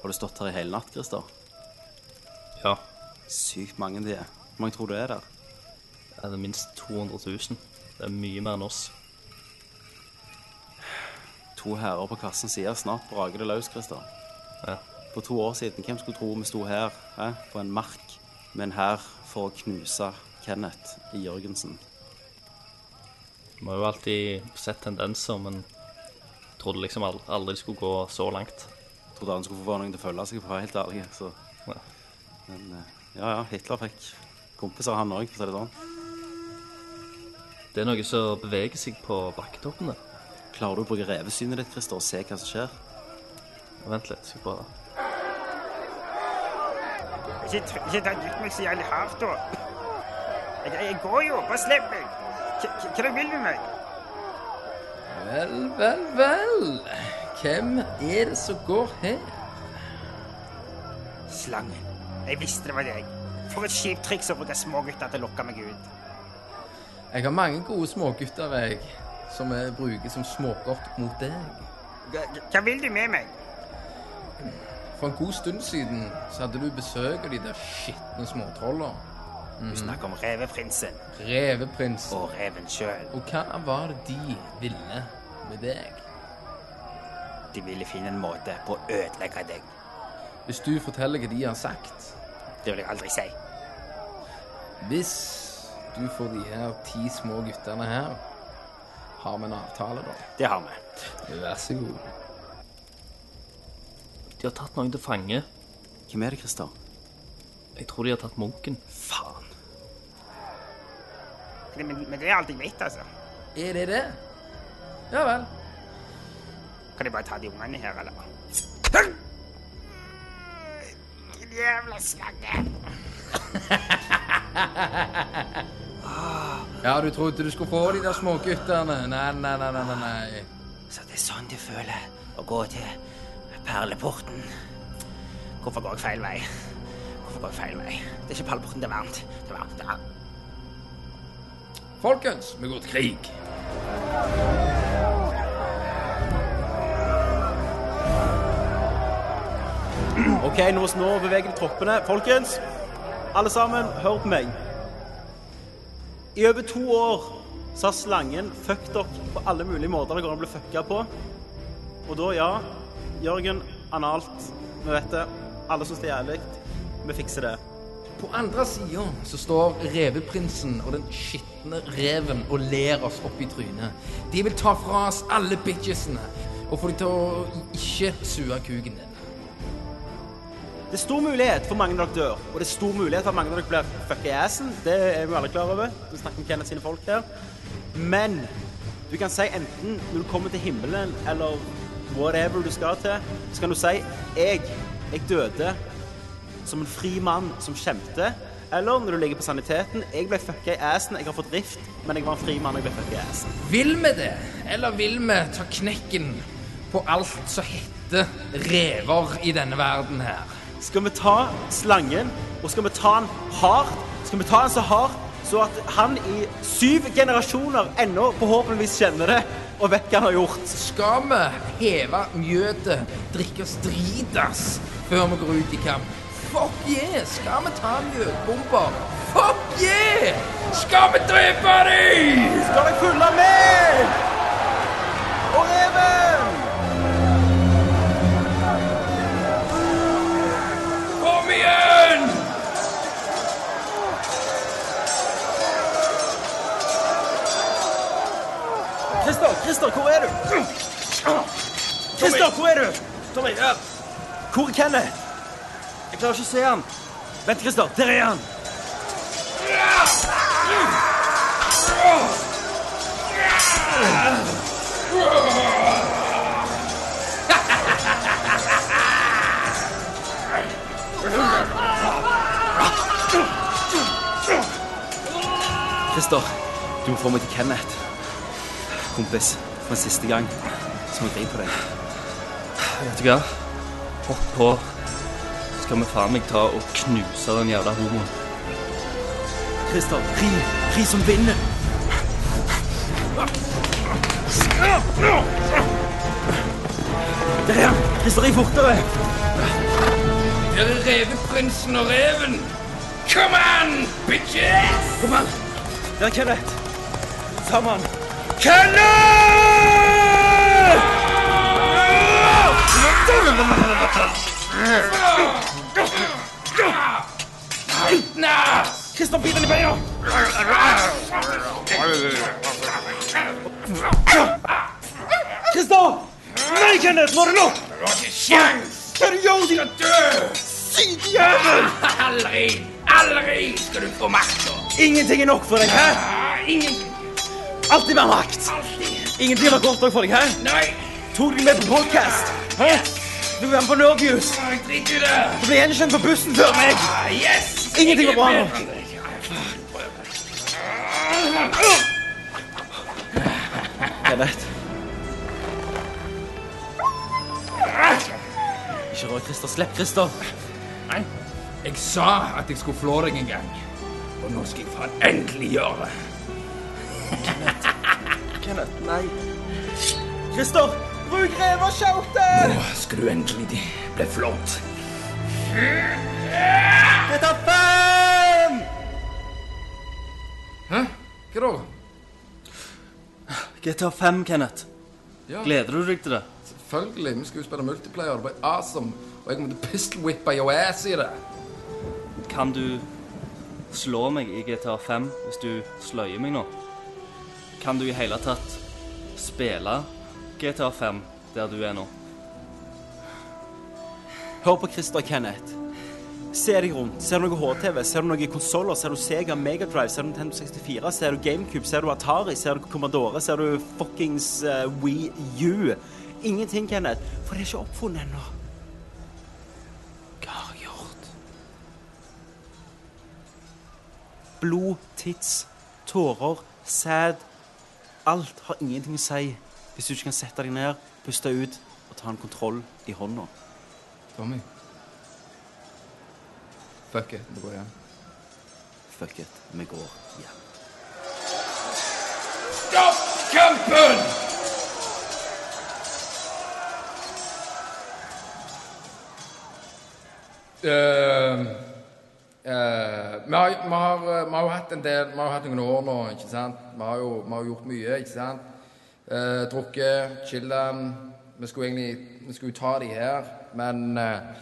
H: Har du stått her i hele natt, Christer?
D: Ja.
H: Sykt mange de er. Hvor mange tror du er der?
D: Det er minst 200 000. Det er mye mer enn oss.
H: To herrer på hver sin side. Snart braker det løs, Christer.
D: Ja.
H: For to år siden, hvem skulle tro vi sto her, eh, på en mark, men her for å knuse Kenneth i Jørgensen?
D: Vi har jo alltid sett tendenser, men trodde liksom al- aldri det skulle gå så langt.
H: Trodde han skulle få noen til å følge seg, for å være helt ærlig. Så.
D: Ja.
H: Men eh, ja, ja, Hitler fikk kompiser, han òg, for å si det sånn.
D: Det er noe som beveger seg på bakketoppene.
H: Klarer du å bruke revesynet ditt, Christer, og se hva som skjer?
D: Vent litt, skal jeg bare
J: Ikke, tr- ikke ta gitt meg så jævlig hardt, da. Jeg, jeg går jo. Bare slipp meg. Hva- Hva hva dere vil med meg?
E: Vel, vel, vel. Hvem er det som går her?
J: Slangen. Jeg visste det var deg. For et kjipt triks å bruke smågutter til å lokke meg ut.
E: Jeg har mange gode smågutter, jeg, som jeg bruker som smågodt mot deg.
J: Hva, hva- hva vil du med meg?
E: For en god stund siden så hadde du besøk av de der skitne småtrolla.
J: Du snakker om reveprinsen
E: Reveprinsen.
J: og reven sjøl.
E: Og hva var det de ville med deg?
J: De ville finne en måte på å ødelegge deg.
E: Hvis du forteller hva de har sagt,
J: Det vil jeg aldri si.
E: Hvis du får de her ti små guttene her, har vi en avtale, da.
J: Det har vi.
E: Vær så god.
D: De har tatt noen til fange.
G: Hvem er det, Christer?
D: Jeg tror de har tatt munken.
G: Faen.
J: Men, men det er alt jeg vet, altså.
E: Er det det? Ja vel.
J: Kan jeg bare ta de ungene her, eller? Din jævla slange.
E: Ja, du trodde du skulle få de der småguttene. Nei, nei, nei, nei, nei, nei.
K: Så det er sånn du føler å gå til perleporten. Hvorfor går jeg feil vei? Hvorfor går jeg feil vei? Det er ikke perleporten, det er varmt. Det er varmt. Det er varmt.
E: Folkens, vi går til krig.
L: OK, nå, nå beveger vi troppene. Folkens, alle sammen, hør på meg. I over to år så har slangen fucked opp på alle mulige måter det går an å bli fucka på. Og da, ja, Jørgen, analt, vi vet det. Alle syns det er jævlig. Vi fikser det.
E: På andre sida så står reveprinsen og den skitne reven og ler oss opp i trynet. De vil ta fra oss alle bitchesene og få de til å ikke sue kuken din.
L: Det er stor mulighet for mange av dere dør, og det er stor mulighet for at mange av dere blir fucka i assen. Det er vi alle klar over. Vi snakker om Kenneth sine folk der. Men du kan si enten når du kommer til himmelen, eller whatever du skal til, så kan du si jeg, jeg døde som en fri mann som kjempet. Eller når du ligger på saniteten, jeg ble fucka i assen, jeg har fått rift, men jeg var en fri mann, jeg ble fucka i assen.
E: Vil vi det, eller vil vi ta knekken på alt som heter rever i denne verden her?
L: Skal vi ta slangen, og skal vi ta den hardt? Skal vi ta den så hardt, så at han i syv generasjoner ennå forhåpentligvis kjenner det, og vet hva han har gjort?
E: Skal vi heve mjødet, drikke oss dritas før vi går ut i kamp? Fuck yeah! Skal vi ta mjødbomber? Fuck yeah! Skal vi drepe dem?
L: Skal dere følge med? Og reven!
E: Kom igjen!
L: Christer, Christer, hvor er du? Christer, hvor er du? Tommy, her. Hvor er Kenneth? Jeg klarer ikke å se han. Vent, Christer, der er han. Christer, du må få meg til Kenneth. Kompis, for en siste gang så må jeg ri på deg.
D: Vet du hva? Hopp på. Skal vi faen meg ta og knuse den jævla homoen.
L: Christer, ri. Ri som vinden. Der er han. Christer, ri fortere.
E: Dere er reveprinsen og reven. Kom an, bitches!
L: Kom an. Der er Kenneth. Sammen. Christer, bit den i beina. Christer! Nei, Kenneth, nå er det nok.
B: Du har ikke sjans! Hva du gjør du? Skal dø!
L: Sidjævel!
B: Aldri, aldri skal du få Ah, makta!
L: Ingenting er nok for deg, hæ?
B: Ingen
L: Alltid mer makt. Ingenting var godt nok for deg, hæ?
B: Nei!
L: Tok deg med på podcast. Hæ? Du vil være med på Nerdviews.
B: Jeg driter i det!
L: Du ble gjenkjent på bussen før meg.
B: Ah, Yes!
L: Ingenting var bra
B: Jeg er
L: nok.
B: med deg. Nei, faen, prøv.
L: Kenneth. Ikke rør Christer. Slipp Christer.
E: Nei, jeg sa at jeg skulle flå deg en gang. Og nå skal jeg faen endelig gjøre det.
L: Kenneth, nei. Christer, bruk revershoutet!
E: Nå skal du endelig bli flått.
L: Jeg tar fem!
E: Hæ? Hva da?
D: GTA 5, Kenneth.
E: Ja.
D: Gleder du deg til det?
E: Selvfølgelig. Vi skulle jo spille multiplayer. Det ble awesome. Og jeg kommer til å pistol-whippe your ass i det.
D: Hva Kan du slå meg i GTA 5 hvis du sløyer meg nå? Kan du i hele tatt spille GTA 5 der du er nå?
L: Hør på Christer og Kenneth. Se deg rundt. Ser du noe HTV? Ser du noen konsoller? Ser du Sega Megadrive? Ser du Nintendo 64? Ser du GameCube? Ser du Atari? Ser du Commodore? Ser du fuckings eh, Wii U? Ingenting, Kenneth. For det er ikke oppfunnet ennå. Hva har jeg gjort? Blod, tits, tårer, sæd Alt har ingenting å si hvis du ikke kan sette deg ned, puste ut og ta en kontroll i hånda.
M: Tommy. Fuck it, det går hjem.
L: Fuck it, vi går hjem.
B: Stopp kampen!
M: Eh, eh, vi, har, vi, har, vi har jo hatt en del Vi har jo hatt noen år nå, ikke sant? Vi har jo vi har jo gjort mye, ikke sant? Eh, drukket, chillet. Vi skulle egentlig vi skulle jo ta de her, men eh,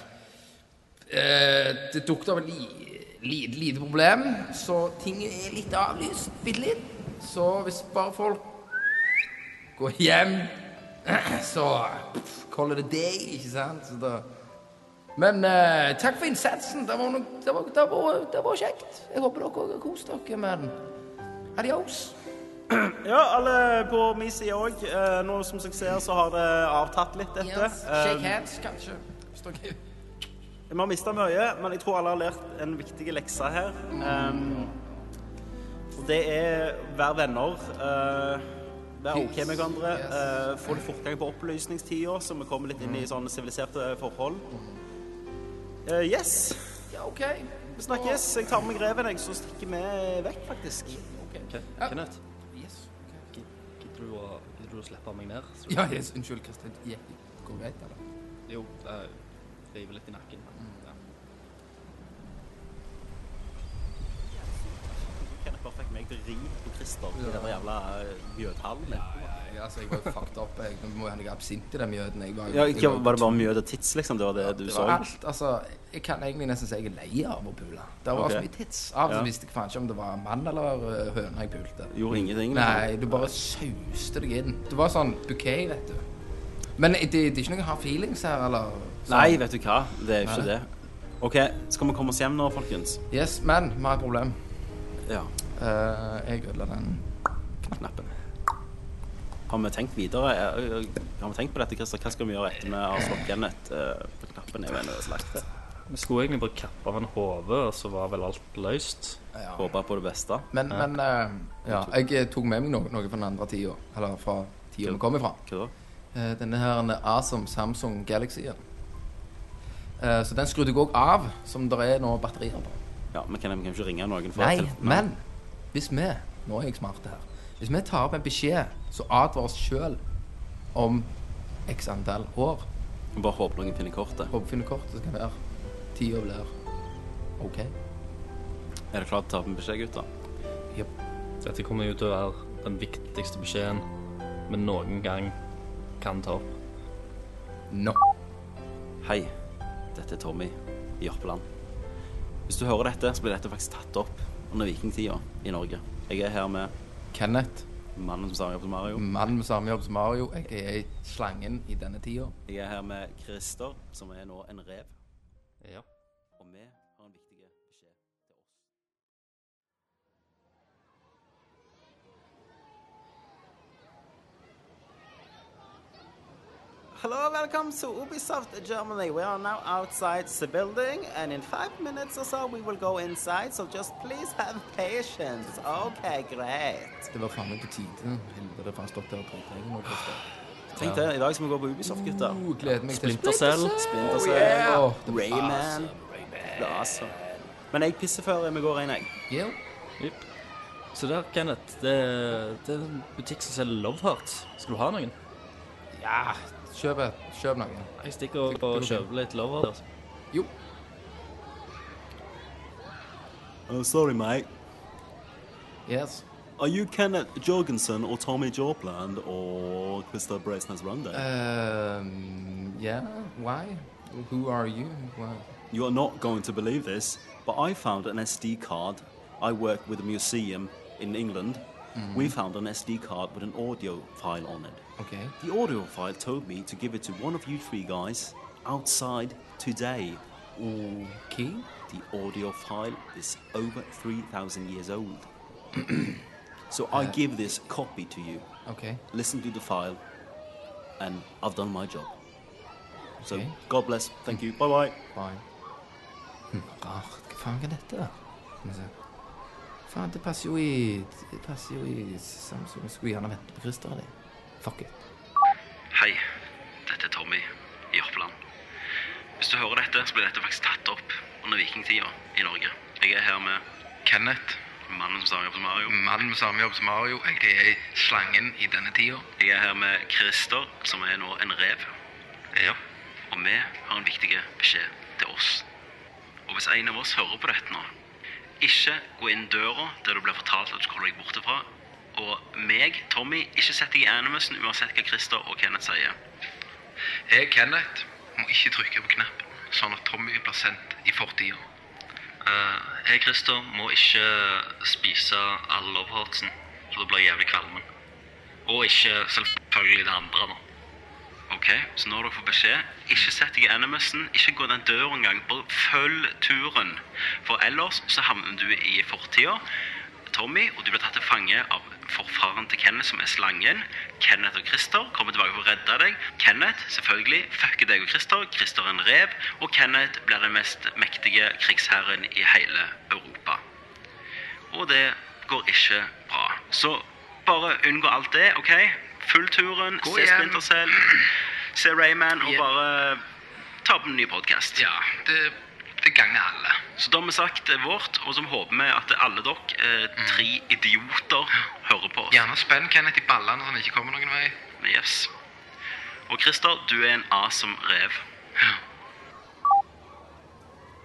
M: eh, det dukket opp et li, li, lite problem, så ting er litt avlyst bitte litt. Så hvis bare folk går hjem, så pff, holder det deg, ikke sant? Så da men eh, takk for innsatsen. Det var, no det, var, det, var, det var kjekt. Jeg håper dere har kost dere med den. Adios.
L: Ja, alle på min side òg. Eh, nå som dere ser, så har det avtatt litt, dette.
M: Yes. Shake
L: Eh,
M: hands, kanskje. Hvis dere-
L: Vi har mista mye, men jeg tror alle har lært en viktig lekse her. Um, og det er vær venner. Uh, Vær OK med hverandre. eh, få litt fortgang på opplysningstida, så vi kommer litt inn
M: Mm.
L: i sånne siviliserte forhold. Eh, yes.
M: Ja, OK.
L: Vi snakkes. Jeg tar med greven, jeg, så stikker vi vekk, faktisk.
D: Kenneth? Gid- Gidder du, å- gidder du å slippe meg ned? Så-
M: Ja, yes. Unnskyld, Kristin. Gikk det går greit, eller?
D: Jo, eh, jeg river litt i nakken. Ja.
L: Kenneth bare fikk meg til å ri på Christer i den jævla eh, mjødhallen.
M: Ja, altså, jeg var jo fucked up. Jeg Nå må jeg ha noe absint i den mjøden. Jeg var, jo-
L: Ja,
M: jeg
L: ikke,
M: var-
L: var det bare mjød og tits, liksom? Det var det du
M: det
L: så?
M: var alt. Altså, jeg kan egentlig nesten si jeg er lei av å pule. Det var
L: Ok.
M: så mye tits. Av og til
L: Ja.
M: visste jeg faen ikke om det var mann eller eh, høne jeg pulte.
L: Gjorde ingenting, liksom?
M: Nei, du bare sauste deg inn. Det var sånn bouquet, vet du. Men det, det er ikke noen hard feelings her, eller? sånn?
L: Nei, vet du hva? Det er jo ikke
M: Nei.
L: det. OK, skal vi komme oss hjem nå, folkens?
M: Yes, men vi har et problem.
L: Ja.
M: Eh, jeg ødela den.
L: Knappen. Har vi tenkt videre? Eh, eh, Har vi tenkt på dette, Christer? Hva skal vi gjøre etter vi har slått Kenneth eh, på knappen? Jeg mener, slakt.
D: Vi skulle egentlig bare kappe av en hode, og så var vel alt løst.
M: Ja.
L: Håper på det beste.
M: Men, men eh, ja, jeg eh, tok med meg noe, noe fra den andre tida. Eller fra tida vi kom ifra.
L: Hva da?
M: Eh, denne her en awesome Samsung Galaxy-en. Eh, så den skrudde jeg òg av, som det er nå batterier på.
L: Ja, men kan vi kan ikke ringe noen? for
M: Nei,
L: telefon-
M: men hvis vi Nå er jeg smart her. Hvis vi tar opp en beskjed som advarer oss sjøl om x antall år
L: Vi Bare håper noen finner kortet.
M: Håper vi finner kortet, så kan det være tida blir OK.
L: Er dere klare til å ta opp en beskjed, gutter?
M: Jepp.
D: Dette kommer jo til å være den viktigste beskjeden vi noen gang kan ta opp.
M: Nå.
L: Hei, dette er Tommy i Jørpeland. Hvis du hører dette, så blir dette faktisk tatt opp under vikingtida i Norge. Jeg er her med
M: Kenneth.
L: Mannen som starter på Mario.
M: Mannen med samme jobb som Mario, jeg er slangen i denne tida.
L: Jeg er her med Christer, som er nå en rev.
D: Ja.
L: Og vi har en viktig beskjed. Hello, welcome to Ubisoft Germany. We are now outside the building, and in five minutes or so we will go inside. So just please have patience. Okay, great.
M: Det var faen meg på tide. Helvete, faen stått der og dreit deg nå. Christer.
L: Tenk det, i dag skal vi gå på Ubisoft, gutter.
M: Uh, gleder meg til
L: Splinter Cell. Splinter Cell.
M: Oh, yeah.
L: Åh,
M: det blir
L: Rayman.
M: awesome,
L: Det er awesome. Men jeg pisser før vi går inn, jeg.
D: Jepp. Så der, Kenneth, det, det er en butikk som selger Love Hearts. Skal du ha noen?
M: Ja, kjøp, et- kjøp noe.
D: Jeg stikker opp og kjøper litt Love Hearts.
M: Jo.
N: Oh, sorry, mate.
M: Yes.
N: Are you Kenneth Jorgensen or Tommy Jopland or Krista
M: Uh,
N: Bracenas Runde?
M: Um, yeah, why? Who are you? Why?
N: You're not going to believe this, but I found an SD card. I work with a museum in England.
L: Mhm.
N: We found an SD card with an audio file on it.
M: Okay.
N: The audio file told me to give it to one of you three guys outside today.
M: Okay.
N: The audio file is over 3,000 years old. so I
M: Uh,
N: give this copy to you.
M: Okay.
N: Listen to the file, and I've done my job. So
M: Okay.
N: God bless. Thank you. Bye bye.
M: Bye. Hm, Rart. Hva faen er dette? da? Skal vi se. Faen, det passer jo i Det passer jo i Samsung. Jeg skulle gjerne vente på Christer. eller? Fuck it.
L: Hei, dette er Tommy i Oppland. Hvis du hører dette, så blir dette faktisk tatt opp under vikingtida i Norge. Jeg er her med Kenneth. Mannen med samme jobb som Mario.
J: Mannen med samme jobb som Mario, jeg er slangen i denne tida.
L: Jeg er her med Christer, som er nå en rev.
J: Ja.
L: Og vi har en viktig beskjed til oss. Og hvis en av oss hører på dette nå, ikke gå inn døra der du blir fortalt at du skal holde deg borte fra. Og meg, Tommy, ikke sett deg i animusen uansett hva Christer og Kenneth sier.
J: Jeg, Kenneth, må ikke trykke på knappen, sånn at Tommy blir sendt i fortida.
L: Eh, jeg, Christer, må ikke spise all lovehurtsen, for da blir jeg jævlig kvalmen. Og ikke selvfølgelig det andre, da. Ok, så når dere får beskjed, ikke sett deg i animusen, ikke gå den døren engang, bare følg turen. For ellers så havner du i fortida, Tommy, og du blir tatt til fange av forfaren til Kenneth, som er slangen. Kenneth og Christer kommer tilbake for å redde deg. Kenneth, selvfølgelig, fucker deg og Christer. Christer er en rev, og Kenneth blir den mest mektige krigsherren i hele Europa. Og det går ikke bra. Så bare unngå alt det, OK? Følg turen,
J: Gå
L: se
J: hjem.
L: Splinter Cell, se Rayman, og bare ta opp en ny podkast.
J: Ja, det, det ganger alle.
L: Så da har vi sagt eh, vårt, og så håper vi at alle dere, eh, tre idioter, hører på oss.
J: Gjerne spenn Kenneth i ballene så han ikke kommer noen vei.
L: Yes. Og Christer, du er en awesome rev.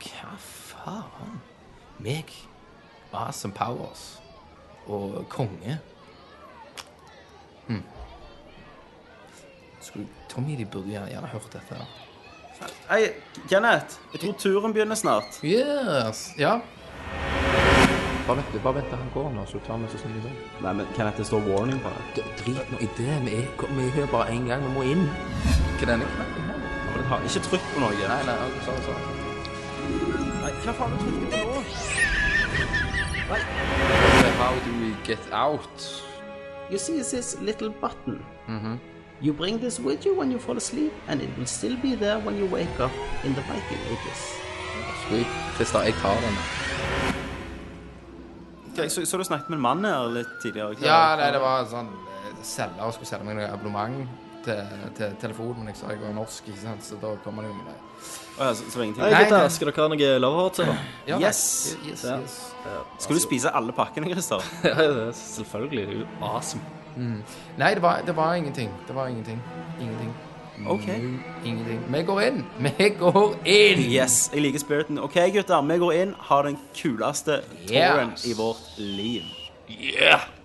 M: Hva faen? Meg? Awesome Powers. Og konge. Hm. Skulle Tommy de burde gjerne, gjerne hørt dette. her.
O: Hei, Kenneth. Jeg tror turen begynner snart.
M: Yes. Ja. Bare vent, bare vent til han går nå, så tar vi så sånn i dag.
P: Nei, men Kenneth, det står warning på det.
M: Drit nå i det. Vi er, vi er her bare én gang. Vi må inn. Hva er denne knappen her?
P: Har ikke trykk på noe.
M: Nei, nei, ok, sorry, sorry.
O: Nei, hva faen har du trykt på nå?
Q: How do we get out?
R: You see this little button?
Q: Mhm.
R: You bring this with you when you fall asleep, and it will still be there when you wake up in the Viking Ages.
M: Sweet. Christer, jeg tar den.
O: Ok, Så, så du snakket med en mann her litt tidligere? ikke
Q: Ja, nei, det var sånn eh, Selger og skulle selge meg noe abonnement til, til telefonen, men jeg sa jeg var norsk, ikke sant, så da kommer det jo med det.
O: Å ja, så, så ingenting?
Q: Hei, Nei, gutter, nei.
O: Skal dere ha noe loveheart til?
Q: Ja, nei.
O: yes.
Q: Yes, yes.
O: Skal du spise alle pakkene, Christer?
D: Selvfølgelig. Det er jo awesome.
Q: Mm. Nei, det var, det var ingenting. Det var ingenting. Ingenting.
O: Ok.
Q: Ingenting. Vi går inn. Vi går inn!
O: Yes, jeg liker spiriten. OK, gutter, vi går inn. Har den kuleste
Q: Yeah.
O: touren i vårt liv.
Q: Yeah!